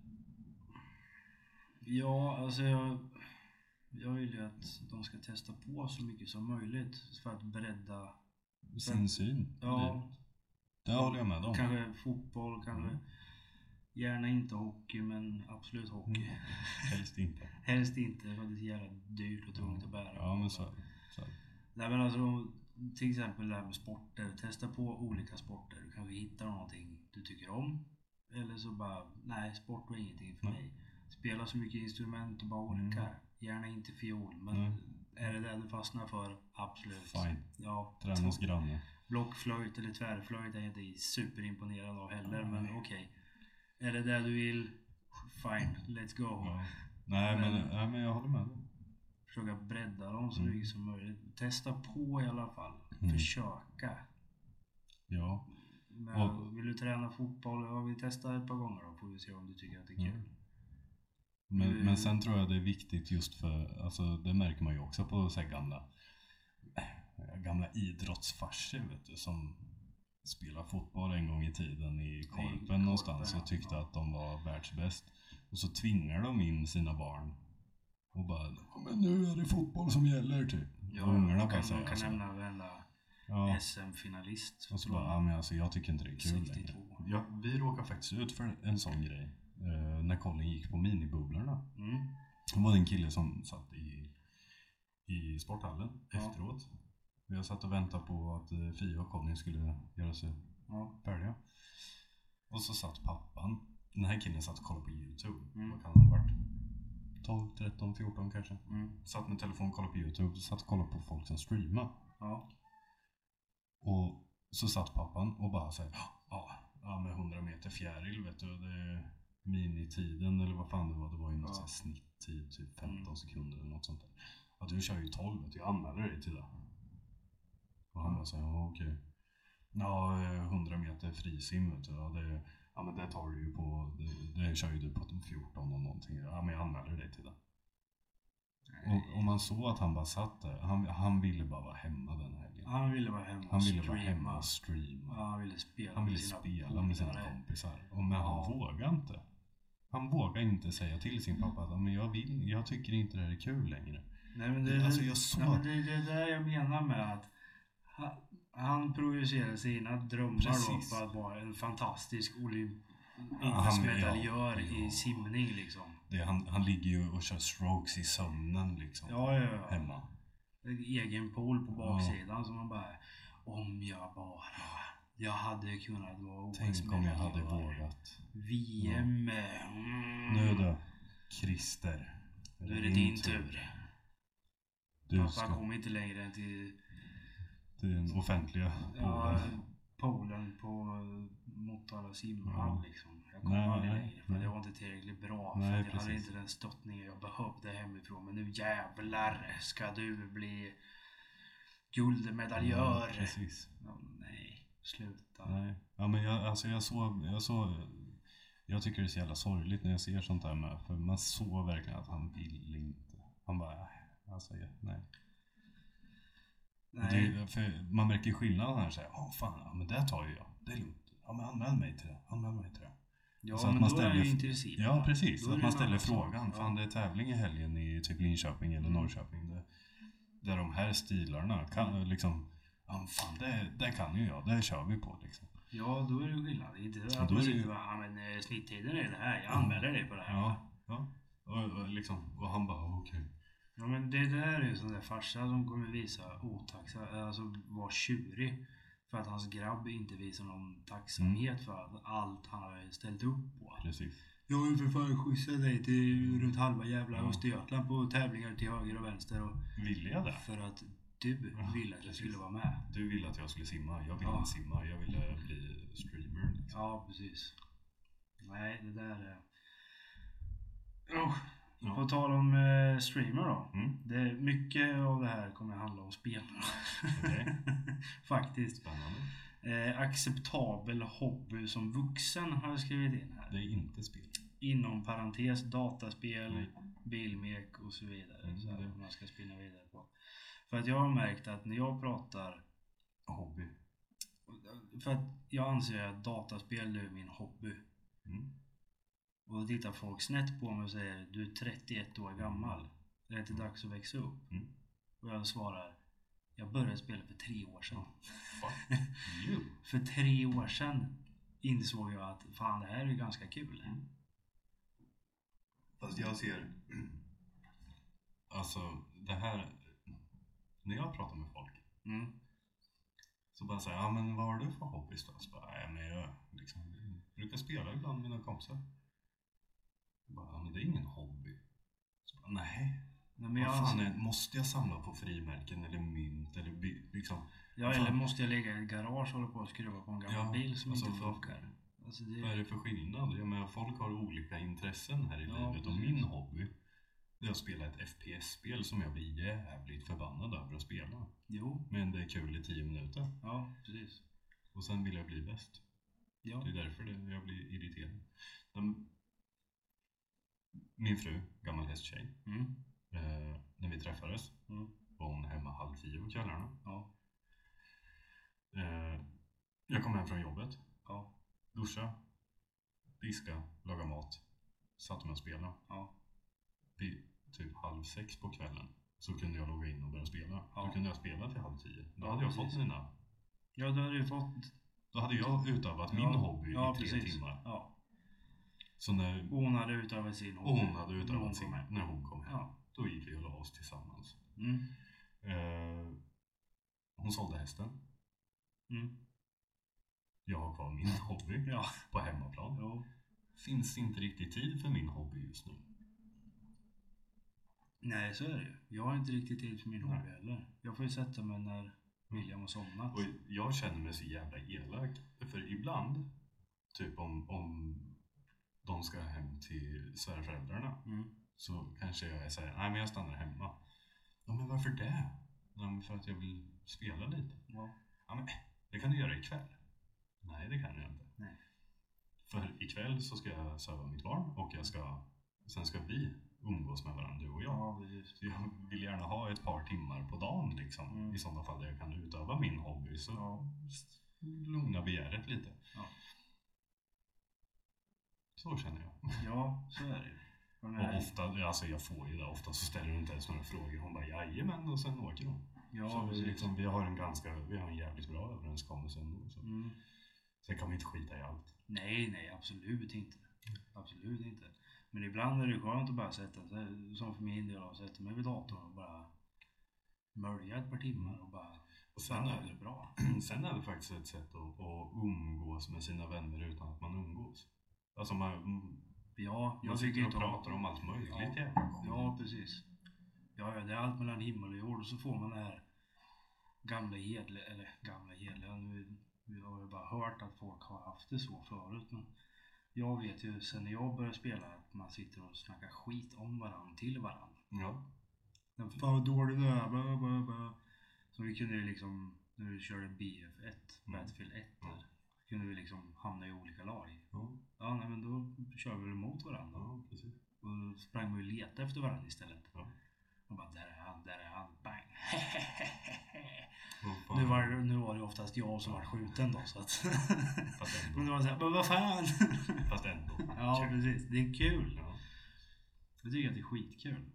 ja alltså jag, jag vill ju att de ska testa på så mycket som möjligt för att bredda. Sin syn. Mm. Ja, Det, det håller jag med om. kanske fotboll, kanske Mm. gärna inte hockey men absolut hockey. Mm. Helst inte. Helst inte för att det är så jävla dyrt och tungt att bära. Ja men så är det. Så är det. Nej men alltså till exempel det här med sporter. Testa på olika sporter. Du kanske hittar någonting du tycker om. Eller så bara, nej sport var ingenting för Nej. Mm. mig. Spela så mycket instrument du bara orkar. Gärna inte fiol, men Nej. är det det du fastnar för, absolut. Fine. Ja, Träna hos grannen. blockflöjt eller tvärflöjt är jag inte superimponerad av heller, men okej. Är det det du vill, fine, let's go. Ja. Nej men, Men- nej men jag håller med. försöka bredda dem så Mm. mycket som möjligt. Testa på i alla fall. Mm. Försöka. Ja. Men Och- vill du träna fotboll, ja, vi testar ett par gånger då får vi se om du tycker att det är Mm. kul. Men, Mm. men sen tror jag det är viktigt just för, alltså det märker man ju också på så här gamla, eh, gamla idrottsfarser vet du, som spelade fotboll en gång i tiden i korpen Korpen, någonstans ja. och tyckte att de var världsbäst. Och så tvingar de in sina barn och bara men nu är det fotboll som gäller typ. Ja, och ungarna de bara kan, de säger kan alltså, nämna varenda ja. SM-finalist. Och så bara, ja men alltså jag tycker inte det är kul längre. 62. Ja, vi råkade faktiskt ut för en sån grej eh, när Colin gick på minibubblorna. Mm. Det var en kille som satt i, i sporthallen Ja. efteråt. Jag satt och väntade på att eh, Fia och Conny skulle göra sig Ja. färdiga. Och så satt pappan. Den här killen satt och kollade på YouTube. Mm. Vad kan han ha varit? 12, 13, 14 kanske. Mm. Satt med telefon och kollade på YouTube. Satt och kollade på folk som streamade. Ja. Och så satt pappan och bara såhär, ja, ja med 100 meter fjäril vet du, det är minitiden eller vad fan det var, det var ju något Ja. ja. sånt snitttid, typ 15 Mm. sekunder eller något sånt där. Ja, du kör ju 12 vet du, jag anmäler dig till det. Och Mm. han bara såhär, ja okej. Ja, eh, 100 meter frisim vet du, ja, det, ja men det tar du ju på, det, det kör ju du på 14 och någonting, ja men jag anmäler dig till det. Och, och man såg att han bara satt där, han, han ville bara vara hemma den helgen. Han ville vara hemma Han och ville vara streama. hemma och streama. Ja, han ville spela Han ville med sina spela med sina polare. kompisar. Och men han Ja. vågade inte. Han vågade inte säga till Mm. sin pappa att men jag, vill, jag tycker inte det här är kul längre. Nej men det är Alltså, jag såg- nej, men det, det är det jag menar med att han, han projicerade sina drömmar Precis. då på att vara en fantastisk olymp- han- ja, OS-medaljör ja. i simning liksom. Det, är- han, han ligger ju och kör strokes i sömnen liksom. Ja, ja, ja. Hemma. En egen pool på baksidan som man bara Om jag bara Jag hade kunnat vara Tänk om jag hade OS-medaljör. vågat. VM. Nu Mm. då. Christer. Nu är det din tur. Du Pappa ska kom inte längre än till till den offentliga ja, poolen. poolen på Motala simhall Ja. liksom. Jag kom Nej, aldrig nej, längre för nej. jag var inte tillräckligt bra. Nej, för jag hade precis. inte den stöttningen jag behövde hemifrån. Men nu jävlar ska du bli Ja, guldmedaljör. precis. Ja, nej, sluta. Nej. Ja, men jag, alltså jag såg, jag såg, jag tycker det är så jävla sorgligt när jag ser sånt där med, för man såg verkligen att han vill inte. Han bara, "Nej, alltså jag- nej. Och Nej. Det, för man märker skillnaden här såhär, åh fan, ja, men det tar ju jag. Det är lugnt. Ja men anmäl mig till det, anmäl mig till det. Ja, så att men man då är jag ställer- ju intresserad. Ja precis, Då är att det man en ställer annan sak. frågan. Ja. Mm. Fan det är tävling i helgen i typ Linköping eller Norrköping. Där, där de här stilarna kan liksom, ja men fan det, det kan ju jag, det kör vi på liksom. Ja, då är det ju skillnad. Inte att då är man det ju- sitter och bara, "Ja, men eh, snitttiden är det här. Jag anmäler dig på det här. Ja, ja. Och, och, liksom, och han bara okej. Ja men det där är ju en sån där farsa som kommer visa otaxa, alltså vara tjurig. För att hans grabb inte visar någon tacksamhet för att allt han har ställt upp på. Mm. Precis. Mm. Jag har ju för fan skjutsat dig till runt halva jävla Ja. Östergötland på tävlingar till höger och vänster. Och Vill jag det? för att du Ja, ville att jag precis. skulle vara med. Du ville att jag skulle simma, jag ville Ja. inte simma, jag ville bli streamer. Liksom. Ja precis. Nej det där är... Oh, Ja. På tal om eh, streamer då. Mm. Det är mycket av det här kommer handla om spel. Okej. [laughs] Faktiskt. Spännande. Eh, acceptabel hobby som vuxen har jag skrivit in här. Det är inte spel. Inom parentes dataspel, Mm. bilmek och så vidare. Mm, så här, det- om man ska spinna vidare på. För att jag har märkt att när jag pratar Hobby. för att jag anser att dataspel är min hobby. Mm. Och då tittar folk snett på mig och säger du är 31 år gammal. Det är inte dags att växa upp. Mm. Och jag svarar jag började spela för tre år sedan. Fuck you. [laughs] För tre år sedan insåg jag att fan det här är ju ganska kul. Mm. Fast jag ser... [clears throat] Alltså, det här... När jag pratar med folk Mm. så bara säger ja men vad har du för hobbys då? Så bara, nej men jag liksom, brukar spela ibland med mina kompisar. Jag bara, ja men det är ingen hobby. Så bara, nej. Nej, men jag, vad fan anser- är, måste jag samla på frimärken eller mynt eller by, liksom? ja, fan. eller måste jag ligga i ett garage och hålla på och skruva på en gammal Ja, bil som alltså, inte vad- funkar? Alltså, det, Vad är det för skillnad? Jag menar, folk har olika intressen här i Ja, livet och precis. min hobby det är att spela ett FPS-spel som jag blir jävligt förbannad över att spela. Jo, Men det är kul i 10 minuter. ja precis. Och sen vill jag bli bäst. Ja. Det är därför det, jag blir irriterad. De, min fru, gammal hästtjej, Mm. eh, när vi träffades Mm. var hon hemma halv tio på kvällarna. Ja. Eh, jag kom hem från jobbet, Ja. duscha, diska, laga mat, satte mig och spelade. Ja. Vid typ halv sex på kvällen så kunde jag logga in och börja spela. Ja. Då kunde jag spela till halv tio. Då Ja, hade jag precis. fått mina... Ja, då har du fått... Då hade jag utövat min ja. hobby ja, i tre precis. timmar. Ja, Så när, Och hon hade utövat sin hobby. och hon hade När hon utövat sin kom hem. när hon kom hem. Ja. Då gick vi och la oss tillsammans. Mm. Eh, hon sålde hästen. Mm. Jag har kvar min [laughs] hobby Ja. på hemmaplan. Jo. Finns inte riktigt tid för min hobby just nu. Nej, så är det ju. Jag har inte riktigt tid för min hobby heller. Jag får ju sätta mig när William har somnat. Och jag känner mig så jävla elak. För ibland, typ om, om de ska hem till svärföräldrarna Mm. så kanske jag säger nej men jag stannar hemma. Ja men varför det? Ja, men för att jag vill spela lite. Ja. Ja men det kan du göra ikväll. Nej det kan jag inte. Nej. För ikväll så ska jag söva mitt barn och jag ska, sen ska vi umgås med varandra du och jag. ja, precis. Så jag vill gärna ha ett par timmar på dagen liksom. Mm. I sådana fall där jag kan utöva min hobby. Så Ja. lugna begäret lite. Ja. Så känner jag. ja, så är det ju. Men Och nej. ofta, alltså jag får ju det, ofta så ställer hon inte ens några frågor. Hon bara jajamän och sen åker hon. Ja, så vi, precis. liksom, vi har en ganska, vi har en jävligt bra överenskommelse ändå. Så. Mm. Sen kan vi inte skita i allt. Nej, nej, absolut inte. Absolut inte. Men ibland är det skönt att bara sätta sig, som för min del, jag sätter mig vid datorn och bara mölja ett par timmar och bara... Och sen Sen är är det det, [clears throat] bra. sen är det faktiskt ett sätt att, att umgås med sina vänner utan att man umgås. Alltså man, Ja, jag tycker sitter och inte om- pratar om allt möjligt Ja. jävla skit. Ja, precis. Ja, ja, det är allt mellan himmel och jord. Och så får man det här gamla hedliga, eller gamla hedliga, nu vi har ju bara hört att folk har haft det så förut. Men jag vet ju sen när jag började spela att man sitter och snackar skit om varandra till varandra. Ja. Den fan vad dålig du är, bla, bla, bla. Så vi kunde ju liksom, när vi körde BF1, Mm. Battlefield 1 Mm. där, kunde vi liksom hamna i olika lag. Ja, Ja, nej, men då kör vi väl mot varandra. ja, precis. Och då sprang man ju och letade efter varandra istället. Ja. Och bara, där är han, där är han, bang! [laughs] Vad fan. nu, var, det- nu var det oftast jag som var skjuten då, så att... [laughs] Fast men ändå. det var såhär, men vad fan! [laughs] Fast ändå. ja, precis. Det är kul. Ja. Jag tycker att det är skitkul.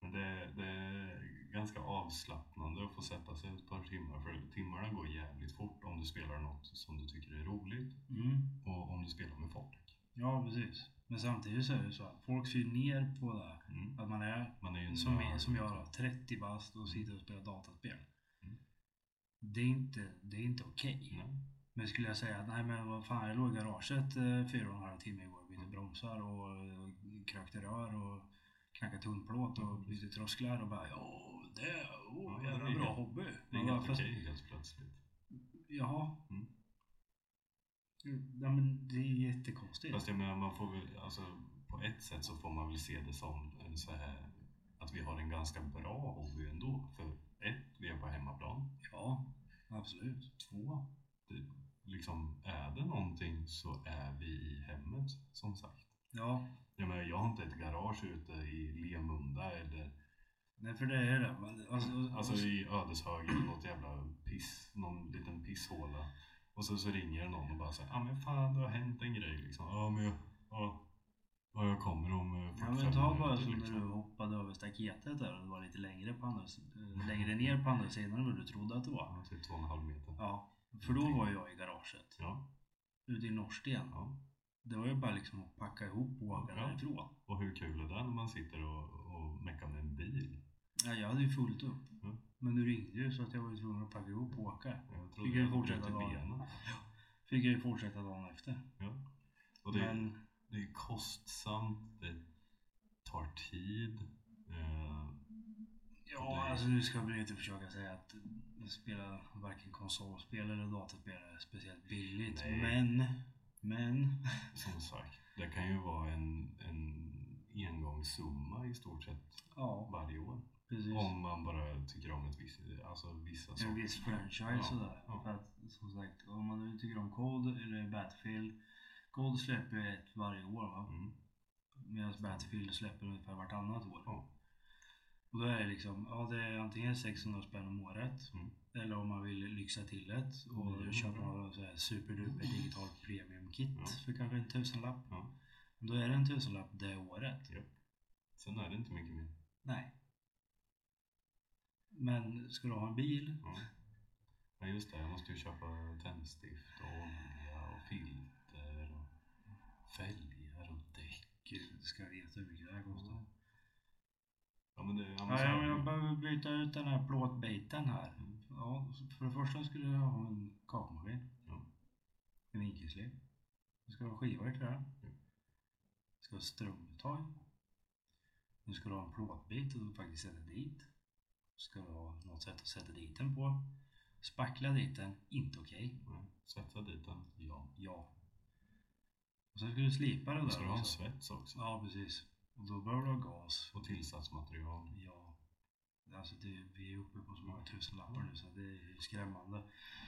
Men det, det är ganska avslappnande att få sätta sig ett par timmar. För timmarna går jävligt fort om du spelar något som du tycker är roligt Mm. och om du spelar med folk. Ja, precis. Men samtidigt så är det ju så att folk ser ju ner på det. här. Mm. Att man är Man är ju en Som, är, nörd. som jag då, 30 bast och sitter och spelar dataspel. Mm. Det är inte, det är inte okej. Nej. Men skulle jag säga att nej men vad fan, jag låg i garaget eh, fyra och en halv timme igår och bytte bromsar och eh, krökte rör och knackade tunnplåt och bytte trösklar och bara ja, det, Ja, oh, det jävla är bra helt- hobby. Det är Man bara, helt fast- okej helt plötsligt. Jaha. Mm, Mm. Ja, men det är jättekonstigt. Fast jag menar, man får väl, alltså, på ett sätt så får man väl se det som en så här, att vi har en ganska bra hobby ändå. För ett, vi är på hemmaplan. Ja, absolut. Två, det, liksom, är det någonting så är vi i hemmet som sagt. Ja, Jag menar, jag har inte ett garage ute i Lemunda eller nej för det är det. Man- Alltså, alltså, i Ödeshög eller något jävla piss, någon liten pisshåla. Och så, så ringer någon och bara säger ja ah, men fan det har hänt en grej liksom. Ja men jag, ja, ja, jag kommer om eh, 45 Ja men ta bara minuter, som när liksom. du hoppade över staketet där och det var lite längre, på andra, si- eh, längre ner på andra sidan än vad du trodde att det var. Ja, typ två och en halv meter. Ja, för då var jag i garaget Ja, ute i Norsten. ja. Det var ju bara liksom att packa ihop och åka Ja. därifrån. Och hur kul är det när man sitter och, och meckar med en bil? Ja, jag hade ju fullt upp. Ja. Men du ringde ju så att jag var ju tvungen att packa ihop och åka. Jag Fick trodde jag jag hade fortsätta brutit dagen? benen. Fick jag ju fortsätta dagen efter. Ja. Och det, Men det är kostsamt, det tar tid. Eh, ja, alltså nu ska vi inte försöka säga att spela varken konsolspel eller dataspel är speciellt billigt. Nej. Men, men. [laughs] som sagt, det kan ju vara en, en engångssumma i stort sett Ja, varje år. precis. Om man bara tycker om ett visst, alltså vissa en saker. viss franchise Ja, sådär. ja. För att som sagt, om man nu tycker om Cold eller Battlefield. Cold släpper ju ett varje år va? Mm. Medan Battlefield släpper ungefär vartannat år. Ja. Och då är det liksom, ja det är antingen 600 spänn om året. Mm. Eller om man vill lyxa till det och Mm. köpa något så här superduper digitalt premiumkit Ja. för kanske en tusenlapp. Ja. Då är det en tusenlapp det året. Sen är det inte mycket mer. Nej. Men ska du ha en bil? Ja. ja, just det. Jag måste ju köpa tändstift och olja och filter och fälgar och däck. Gud, ska jag veta hur mycket det här kostar. Ja, men det, ja, men Ja, så är ja, det men ju. jag behöver byta ut den här plåtbiten här. Mm. Ja, för det första skulle jag ha en kakmaskin. Ja. En vinkelsliv. Jag ska ha skivor till den. Ja. Jag ska ha strumtag. Nu ska du ha en plåtbit och faktiskt sätta dit. Ska du ha något sätt att sätta dit den på. Spackla dit den, inte okej. Nej, Svetsa dit den. Ja. Ja. Och sen ska du slipa det där Då ska du ha en också. svets också. Ja, precis. Och då behöver du ha gas. Och tillsatsmaterial. Ja. Alltså det, vi är uppe på så många tusenlappar nu så det är skrämmande.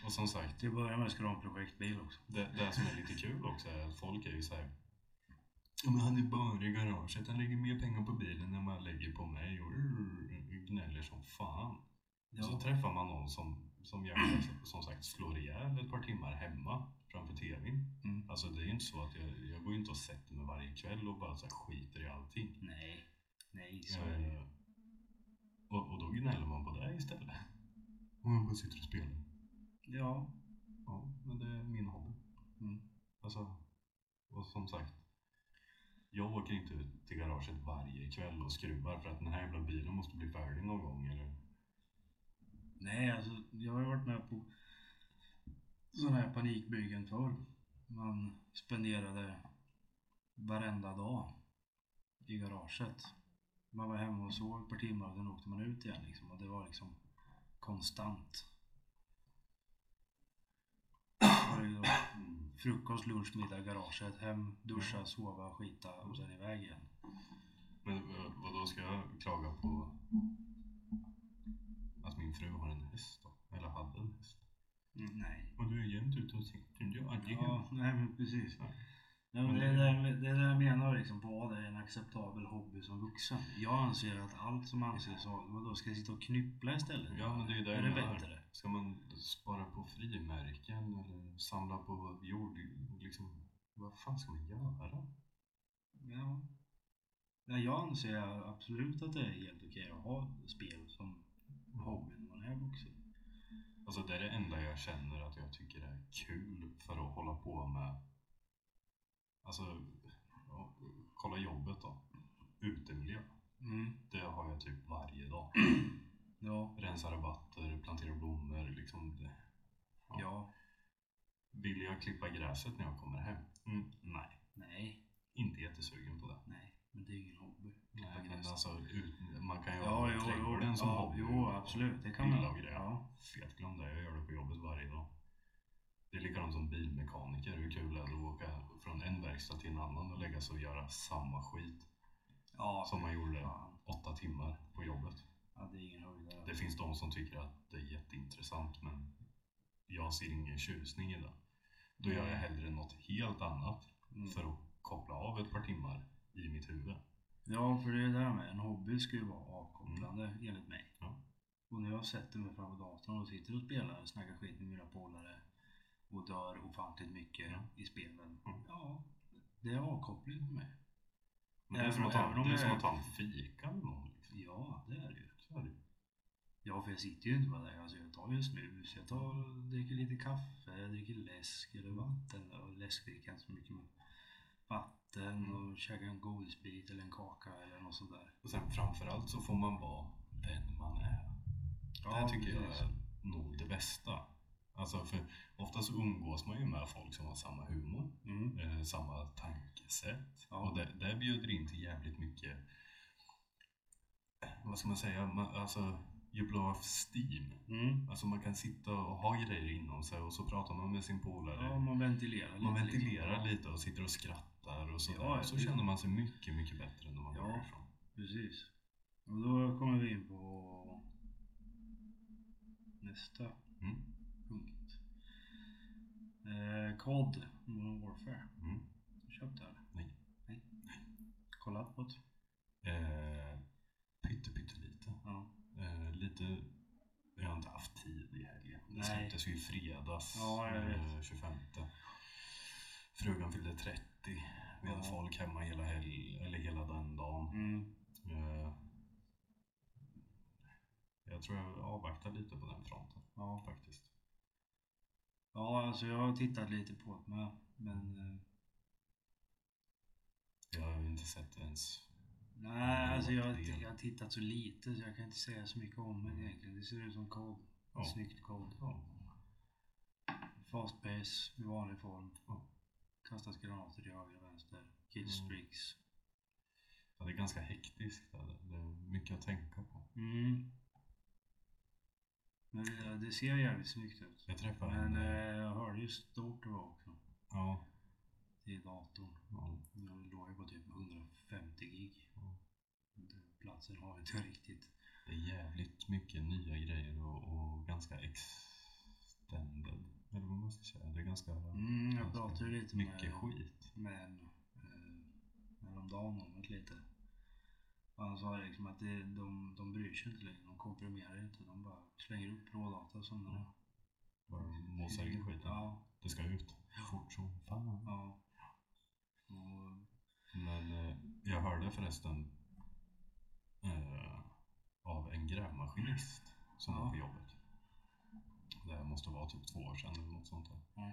Och som sagt, Till att börja med ska du ha en projektbil också. det, det som är lite kul också är att folk är ju såhär Ja men han är bara i garaget, han lägger mer pengar på bilen än vad han lägger på mig och gnäller som fan. Och så Ja, träffar man någon som, som, gärna, som sagt slår ihjäl ett par timmar hemma framför tvn. Mm. Alltså det är ju inte så att jag, jag går ju inte och sätter mig varje kväll och bara så här skiter i allting. nej. Nej, så är det ju. Jag, Eh, Och, och då gnäller man på det istället. Om man bara sitter och spelar. Ja. Ja, men det är min hobby. Alltså, och som sagt. Jag åker inte ut till garaget varje kväll och skruvar för att den här jävla bilen måste bli färdig någon gång. Eller? Nej, alltså jag har ju varit med på sådana här panikbyggen förr. Man spenderade varenda dag i garaget. Man var hemma och sov ett par timmar och sen åkte man ut igen liksom. Och det var liksom konstant. Det var ju då Mm. Frukost, lunch, middag, garaget, hem, duscha, sova, skita och sen iväg igen. Men eh, vadå, ska jag klaga på att min fru har en häst då? Eller hade en häst? Nej. Och du är jämt ute och sitter. Du aldrig Ja, nej men precis. Nej. Ja, men det, är det, det är det jag menar liksom, vad är en acceptabel hobby som vuxen? Jag anser att allt som anses vara, då ska jag sitta och knyppla istället? Ja, men det är ju det är jag det menar. bättre? Ska man spara på frimärken eller samla på jord? Liksom, vad fan ska man göra? Ja. ja. Jag anser absolut att det är helt okej att ha spel som hobby när man är vuxen. Alltså det är det enda jag känner att jag tycker är kul för att hålla på med. Alltså, ja, kolla jobbet då. Utemiljö. Det har jag typ varje dag. Ja. Rensa rabatter, plantera blommor, liksom. Det. Ja. ja. Vill jag klippa gräset när jag kommer hem? Mm, nej, Nej. inte jättesugen på det. Nej. Men det är ju ingen hobby. Klippa Nej, men gräs. alltså, ut, man kan ju Ja, ha jo, trädgården jo, som ja, hobby. jo, absolut. Det kan man. Gillar vi det? Ja. Fet glöm det, jag gör det på jobbet varje dag. Det är likadant som bilmekaniker, hur kul är det att åka från en verkstad till en annan och lägga sig och göra samma skit Ja, som man gjorde fan. åtta timmar på jobbet. Ja, det är ingen höjdare. Det finns de som tycker att det är jätteintressant men jag ser ingen tjusning i det. Då gör jag hellre något helt annat Mm. för att koppla av ett par timmar i mitt huvud. Ja, för det är det här med en hobby ska ju vara avkopplande enligt mig. Ja. Och när jag sätter mig framför datorn och sitter och spelar och snackar skit med mina polare och dör ofantligt mycket Ja. i spelen. Mm. Ja, det är avkoppling för mig. Men det är Även som att om- även ta, om det är det som är- att ta en fika med någon. liksom. Ja, det är det ju. Så är det ju. Ja, för jag sitter ju inte bara där. Alltså, jag tar ju en snus, jag tar, dricker lite kaffe, jag dricker läsk eller vatten. Och läsk dricker jag inte så mycket men vatten och käkar en godisbit eller en kaka eller något sånt där. Och sen framförallt så får man vara den man är. det här tycker jag precis. är nog det bästa. Alltså för oftast umgås man ju med folk som har samma humor, Mm. eh, samma tankesätt. Ja. Och det, det bjuder in till jävligt mycket, eh, vad ska man säga, man, alltså you blow off steam. Mm. Alltså man kan sitta och ha grejer inom sig och så pratar man med sin polare. Ja, man ventilerar lite. man liksom. ventilerar lite och sitter och skrattar och sådär. Ja, och så det- känner man sig mycket, mycket bättre när man Ja. går därifrån. Precis. Och då kommer vi in på nästa Mm. punkt. Eh, COD, Modern Warfare. Mm. Har du köpt det eller? Nej. Nej. Kollat på det? Eh, pytte, pyttelite. Ja. Eh, lite, jag har inte haft tid i helgen. Det Nej. släpptes ju i fredags, Ja, jag vet. eh, 25. Frugan fyllde 30. Vi hade Ja. folk hemma hela, helg, eller hela den dagen. Mm. Eh, jag tror jag avvaktar lite på den fronten Ja. faktiskt. ja, alltså jag har tittat lite på det med. Men eh, Jag har ju inte sett ens... nej, alltså jag, har- Del. jag har tittat så lite så jag kan inte säga så mycket om det egentligen. Det ser ut som COD. Ja. Snyggt COD. Ja. Fast pace i vanlig form. Ja. Mm. Kastas granater till höger och vänster. Killstreaks. Ja, det är ganska hektiskt. där. Det är mycket att tänka på. Mm. Men det, det ser jävligt snyggt ut. Jag träffade en... Men eh, eh, jag hörde ju stort det var också. Ja, Till datorn. ja. Den låg ju på typ 150 gig. Ja. Den Platsen har vi inte riktigt. Det är jävligt mycket nya grejer och, och ganska extended. Eller vad man ska säga. Det är ganska Mm, jag Ganska pratade ju lite mycket med, skit. med en eh, häromdagen om det lite. Och han sa liksom att det, de, de bryr sig inte längre. De komprimerar inte. De bara slänger upp rådata som den är. Bara mosar in skiten. Mm, Ja, Det ska ut. Fort som fan. ja. Och, Men eh, jag hörde förresten eh, av en grävmaskinist som Ja. var på jobbet. Det här måste vara typ två år sedan eller något sånt där. Ja.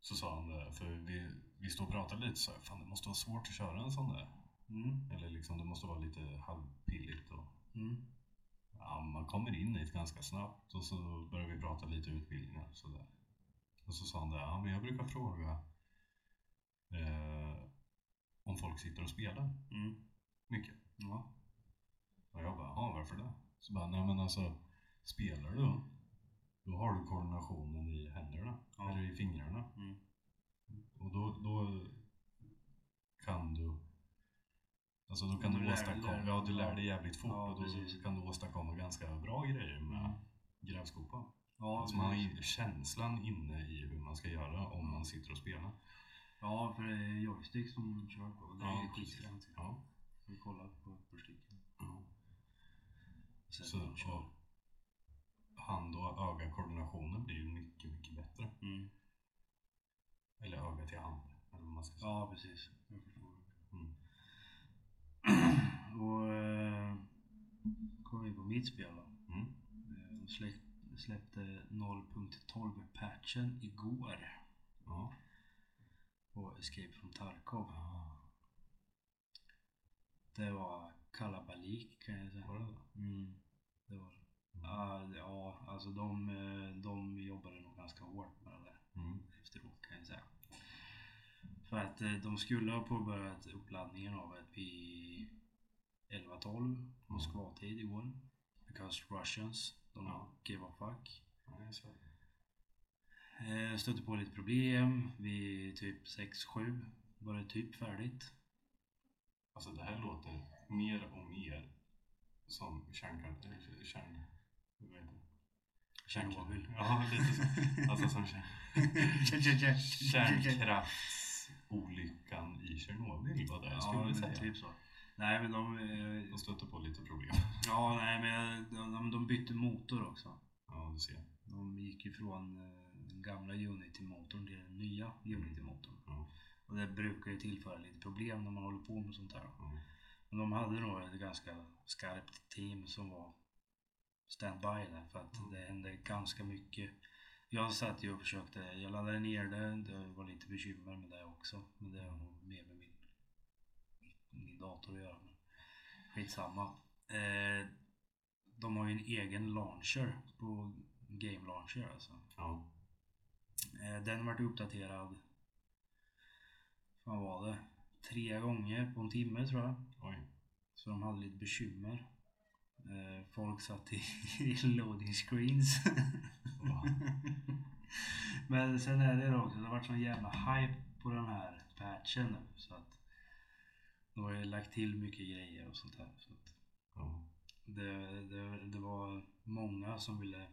Så sa han det, för vi, vi stod och pratade lite så här, fan det måste vara svårt att köra en sån där. Mm. Eller liksom det måste vara lite halvpilligt och Mm. ja, man kommer in i det ganska snabbt och så börjar vi prata lite utbildningar och sådär. Och så sa han det, ja men jag brukar fråga eh, om folk sitter och spelar Mm. mycket. Ja. Och jag bara, ja varför det? Så bara, nej men alltså spelar du, då har du koordinationen i händerna, Ja. eller i fingrarna. Mm. Och då, då kan du Alltså då kan Du du, lär- åstadkomma, lär- ja du lär dig jävligt fort Ja, och då precis. Mm. kan du åstadkomma ganska bra grejer med grävskopan. Ja, Alltså man har ju känslan inne i hur man ska göra om man sitter och spelar. ja, för det är joystick som kör på. Det är Ja, ja, precis. skitfränt. Ja. Vi kollar på uppersticken. Sen Så, de kör. och hand och öga-koordinationen blir ju mycket, mycket bättre. Mm. Eller öga till hand, eller vad man ska säga. Ja, precis. Jag förstår. Mm. [clears throat] Och eh, kom vi på mitt spel då. Mm. Eh, De släpp- släppte 0.12-patchen igår Ja. på Escape from Tarkov. Ja. Det var kalabalik kan jag säga. Var det det? Mm, det var det. Ah, ja, alltså de, eh, de jobbade nog ganska hårt med det där Mm. efteråt kan jag säga. För att eh, de skulle ha påbörjat uppladdningen av ett vid 11-12 Moskva-tid igår. Because Russians, de Ja. gave a fuck. Nej, så. Eh, Stötte på lite problem vid typ 6-7. Var det typ färdigt? Alltså det här låter mer och mer som kärnkraft... eh, Kärn... Vad heter det? Tjernobyl. Ja, lite så. Alltså som kärn... [laughs] Kärnkraftsolyckan i Tjernobyl var det jag skulle Ja, men säga. typ så. Nej men de... eh, De stötte på lite problem. [laughs] Ja, nej men de, de, de bytte motor också. Ja, du ser. De gick ifrån eh, den gamla Unity-motorn till den nya Unity-motorn. Ja. Och det brukar ju tillföra lite problem när man håller på med sånt här. Ja. Men de hade nog ett ganska skarpt team som var standby där för att det hände ganska mycket. Jag satt ju och försökte, jag laddade ner det, det var lite bekymmer med det också. Men det har nog mer med min, min dator att göra. Men skitsamma. Eh, de har ju en egen launcher på Game Launcher alltså. Ja. Eh, Den vart uppdaterad, vad var det, tre gånger på en timme tror jag. Oj. Så de hade lite bekymmer. Eh, Folk satt i [laughs] i loading screens. Va? [laughs] Men sen är det också, det har varit sån jävla hype på den här patchen nu så att de har ju lagt till mycket grejer och sånt här. Så att Ja. det, det, det var många som ville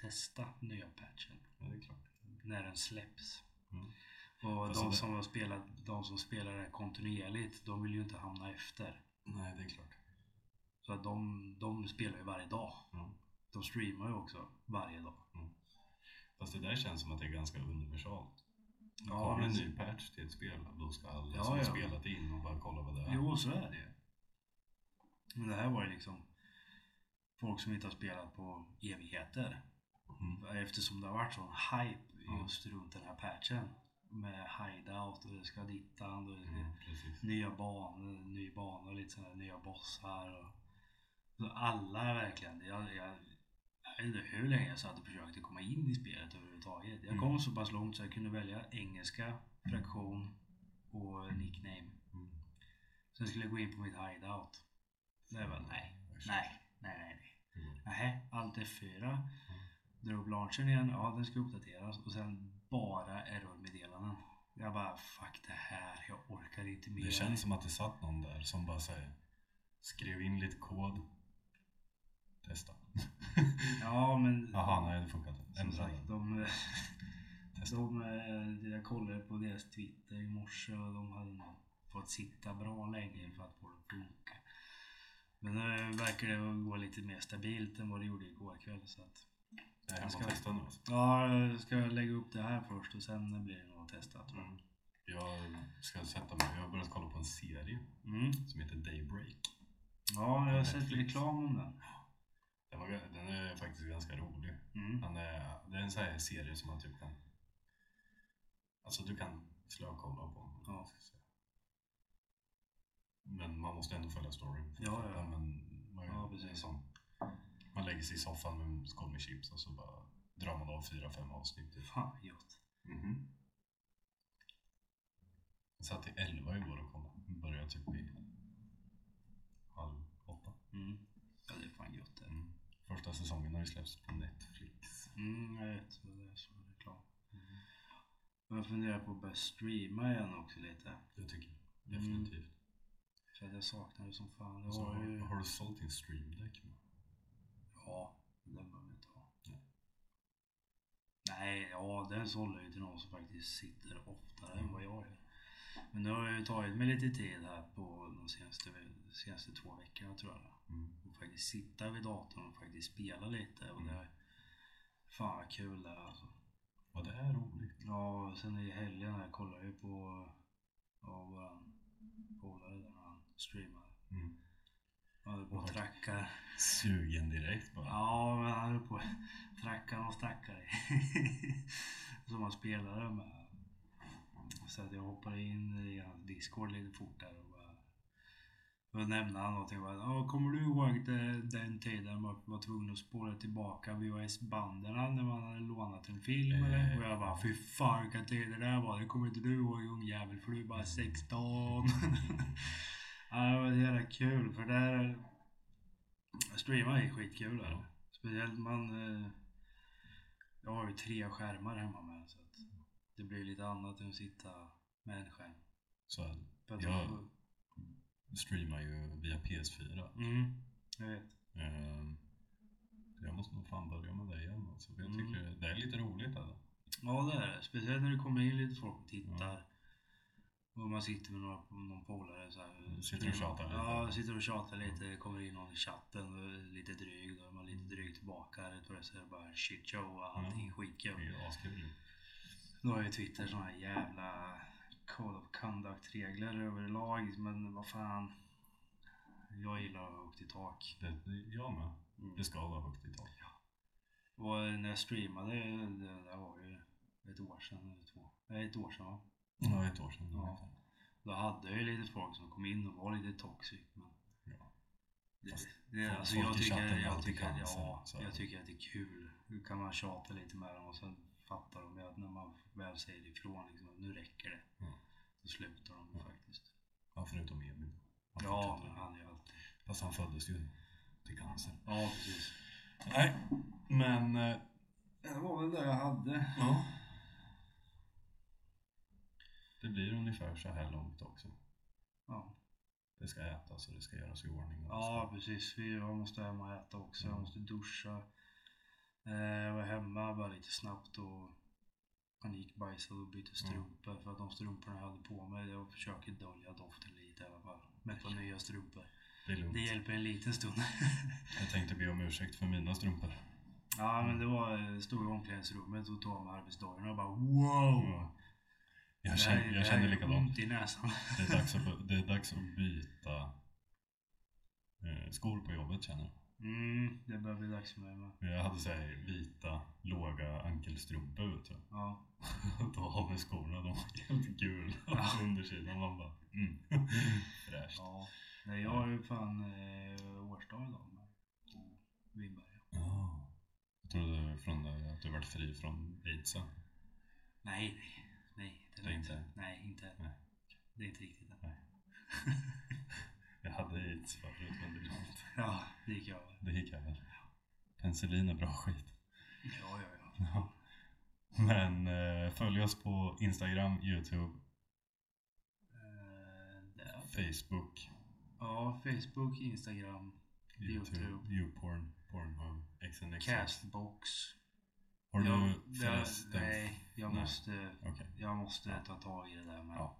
testa nya patchen ja, det är klart. när den släpps. Mm. Och Alltså de, det- som har spelat, de som spelar det här kontinuerligt, de vill ju inte hamna efter. Nej, det är klart. Så att de, de spelar ju varje dag. Ja. De streamar ju också varje dag. Fast det där känns som att det är ganska universalt. Ja, Kommer en men- ny patch till ett spel, då ska alla Ja, som har ja. spelat in och bara kolla vad det är. Jo, så är det ju. Men det här var ju liksom folk som inte har spelat på evigheter. Mm. Eftersom det har varit sån hype Ja. just runt den här patchen. Med hideout och det ska dittan och det ska Mm, precis. nya banor, ny bana och lite sådana nya bossar. Och, så alla verkligen, jag, jag, jag vet inte hur länge jag satt och försökte komma in i spelet överhuvudtaget. Jag kom Mm. så pass långt så jag kunde välja engelska, fraktion och nickname. Mm. Sen skulle jag gå in på mitt hideout. Där jag bara, nej, nej, nej, nej, nej. Mm. Nähä, allt F4. Dra upp launchern igen, ja den ska uppdateras och sen bara errormeddelanden. Jag bara, fuck det här, jag orkar inte mer. Det känns som att det satt någon där som bara säger skrev in lite kod. Testa. Ja, men Jaha, nej det funkar inte. som Ändra sagt, den. de, [laughs] Testa. de, eh, jag kollade på deras Twitter i morse och de hade nog fått sitta bra länge för att få det att funka. Men nu verkar det gå lite mer stabilt än vad det gjorde igår kväll. Så att, Det här Ska- måste testa nu alltså. ja, jag ska lägga upp det här först och sen blir det nog testat. tror jag. Mm. Jag ska sätta mig, jag har börjat kolla på en serie Mm. som heter Daybreak. Ja, jag har sett Netflix. reklam om den. Den, var, ga- den är faktiskt ganska rolig. Mm. Han är, eh, det är en sån här serie som man typ kan... Alltså du kan slökolla på. Ja. Men man måste ändå följa storyn. för att Ja, ja. fatta, Men man, Ja, precis. liksom, man lägger sig i soffan med en skål med chips och så bara drar man av fyra, fem avsnitt. Typ. Fan vad gott. Mhm. mm Jag satt i elva igår och kollade. Började typ i halv åtta. Mm. Ja, det är fan gott det. Mm. Första säsongen har ju släppts på Netflix. Mm, jag vet. Det är så reklam. Men jag funderar på att börja streama igen också lite. Det tycker jag Mm. definitivt. För att jag saknar det som fan. Jag Och så har har, ju... har du sålt din stream deck? Ja, den behöver jag inte ha. Nej, ja den sålde jag ju till någon som faktiskt sitter oftare än vad jag gör. Men nu har jag ju tagit mig lite tid här på de senaste, senaste två veckorna tror jag. Mm. och faktiskt sitta vid datorn och faktiskt spela lite. Och Mm. det, fan vad kul det är alltså. Ja, det är roligt. Ja, och sen i helgen här kollade jag ju på ja, våran polare där när han streamade. Mm. Han höll på och trackade. Sugen direkt bara. Ja, men han höll på [laughs] och trackade och stackade [laughs] Som han spelade med. Så att jag hoppade in i hans discord lite fort där och bara då nämnde han någonting bara, "Ja, kommer du ihåg det, den tiden man var tvungen att spola tillbaka VHS-banden när man hade lånat en film eller? Eh. Och jag bara, fy fan vilka tider det där var, det kommer inte du ihåg ungjävel för du är bara 16. [laughs] ja, det var jävla kul för där streamar är skitkul där. Ja. Speciellt man, eh, jag har ju tre skärmar hemma med så att det blir lite annat än att sitta med en skärm. Så här, För att Ja. streamar ju via PS4. Mm, jag vet. Ehm, jag måste nog fan börja med det igen alltså. för Jag Mm. tycker det är lite roligt alltså. Ja det är det. Speciellt när det kommer in lite folk och tittar. Och man sitter med några, någon polare så här. Sitter och tjatar lite. Ja, sitter och tjatar lite. Det kommer in någon i chatten och är lite dryg. Då är man lite dryg tillbaka. Rätt vad det är så är det bara shit show och allting Mm. skitkul. Det är ju askul. Nu har ju Twitter såna här jävla Code of Conduct-regler överlag. Men vad fan. Jag gillar högt i tak. Det, det, jag med. Mm. Det ska vara högt i tak. Och när jag streamade, det där var ju ett år sedan eller två. Nej, ett år sedan va? Ja, ett år sedan. Ja. ungefär. Då hade jag ju lite folk som kom in och var lite toxic. Men Ja. det, Fast det, folk- alltså folk jag, i chatten tycker, har jag, alltid tycker, att- cancer, ja, så är jag det. tycker att det är kul. Då kan man tjata lite med dem och sen fattar de ju att när man väl säger ifrån liksom, att nu räcker det. Mm. Då slutar de Ja. faktiskt. ja, förutom Emil. Han Ja, fortsätter. men han är ju alltid... Fast han föddes ju till cancer. Ja, precis. Nej, men... eh, Det var väl det jag hade. Ja. Det blir ungefär så här långt också. Ja, Det ska ätas och det ska göras i ordning. och det ja precis. Vi- Jag måste hem och äta också. Jag Mm. måste duscha. Eh, Jag var hemma bara lite snabbt och panikbajsade och Mm. bytte strumpor. För att de strumporna jag hade på mig, jag försöker dölja doften lite i alla fall. Med ett par nya strumpor. ska- Det är lugnt. Det hjälper en liten stund. [laughs] Jag tänkte be om ursäkt för mina strumpor. ja men det var, stod i omklädningsrummet och tog av mig arbetsdagarna och bara wow! Mm. Jag Det här- känner, det här jag känner gör likadant. Ont i näsan. [laughs] Det är dags att, det är dags att byta eh, skor på jobbet känner jag. Mm, det börjar bli dags för mig med. Men Jag hade så här vita, låga ankelstrumpor vet du. [laughs] Ja. Då har vi skorna, de var helt gula på undersidan. Man bara mm. [laughs] Fräscht. Ja, nej, jag har ju fan eh, årsdag idag med på Vinberga. Ja. Jag trodde från det, att du varit fri från aidsen. Nej, nej, nej. Det är inte? Nej, inte än. Nej. Det är inte riktigt än. Jag hade aids förut men det, blev- Ja, [laughs] det gick jag över. det gick över. Penicillin är bra skit. Ja, ja, ja. Ja. Men eh, följ oss på Instagram, Youtube, Eh, där. Facebook, ja, Facebook, Instagram, YouTube. Youporn, Pornhub, XNX. Castbox. Har du jag, förresten... jag, nej, jag Nej. måste, Okej, jag måste ta tag i det där. Men, Ja.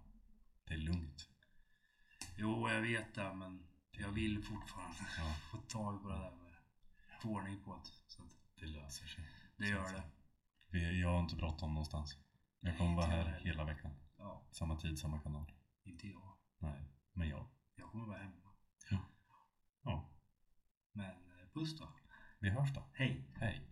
det är lugnt. Jo, jag vet det, men jag vill fortfarande Ja, [laughs] få tag på det där med få ordning på det. Så att det löser sig. det gör det. Vi, jag har inte bråttom någonstans. Jag Nej, kommer vara inte jag här heller. hela veckan. Ja, Samma tid, samma kanal. inte jag. Nej, men jag. Jag kommer vara hemma. eh, puss då. Vi hörs då. Hej! Hej.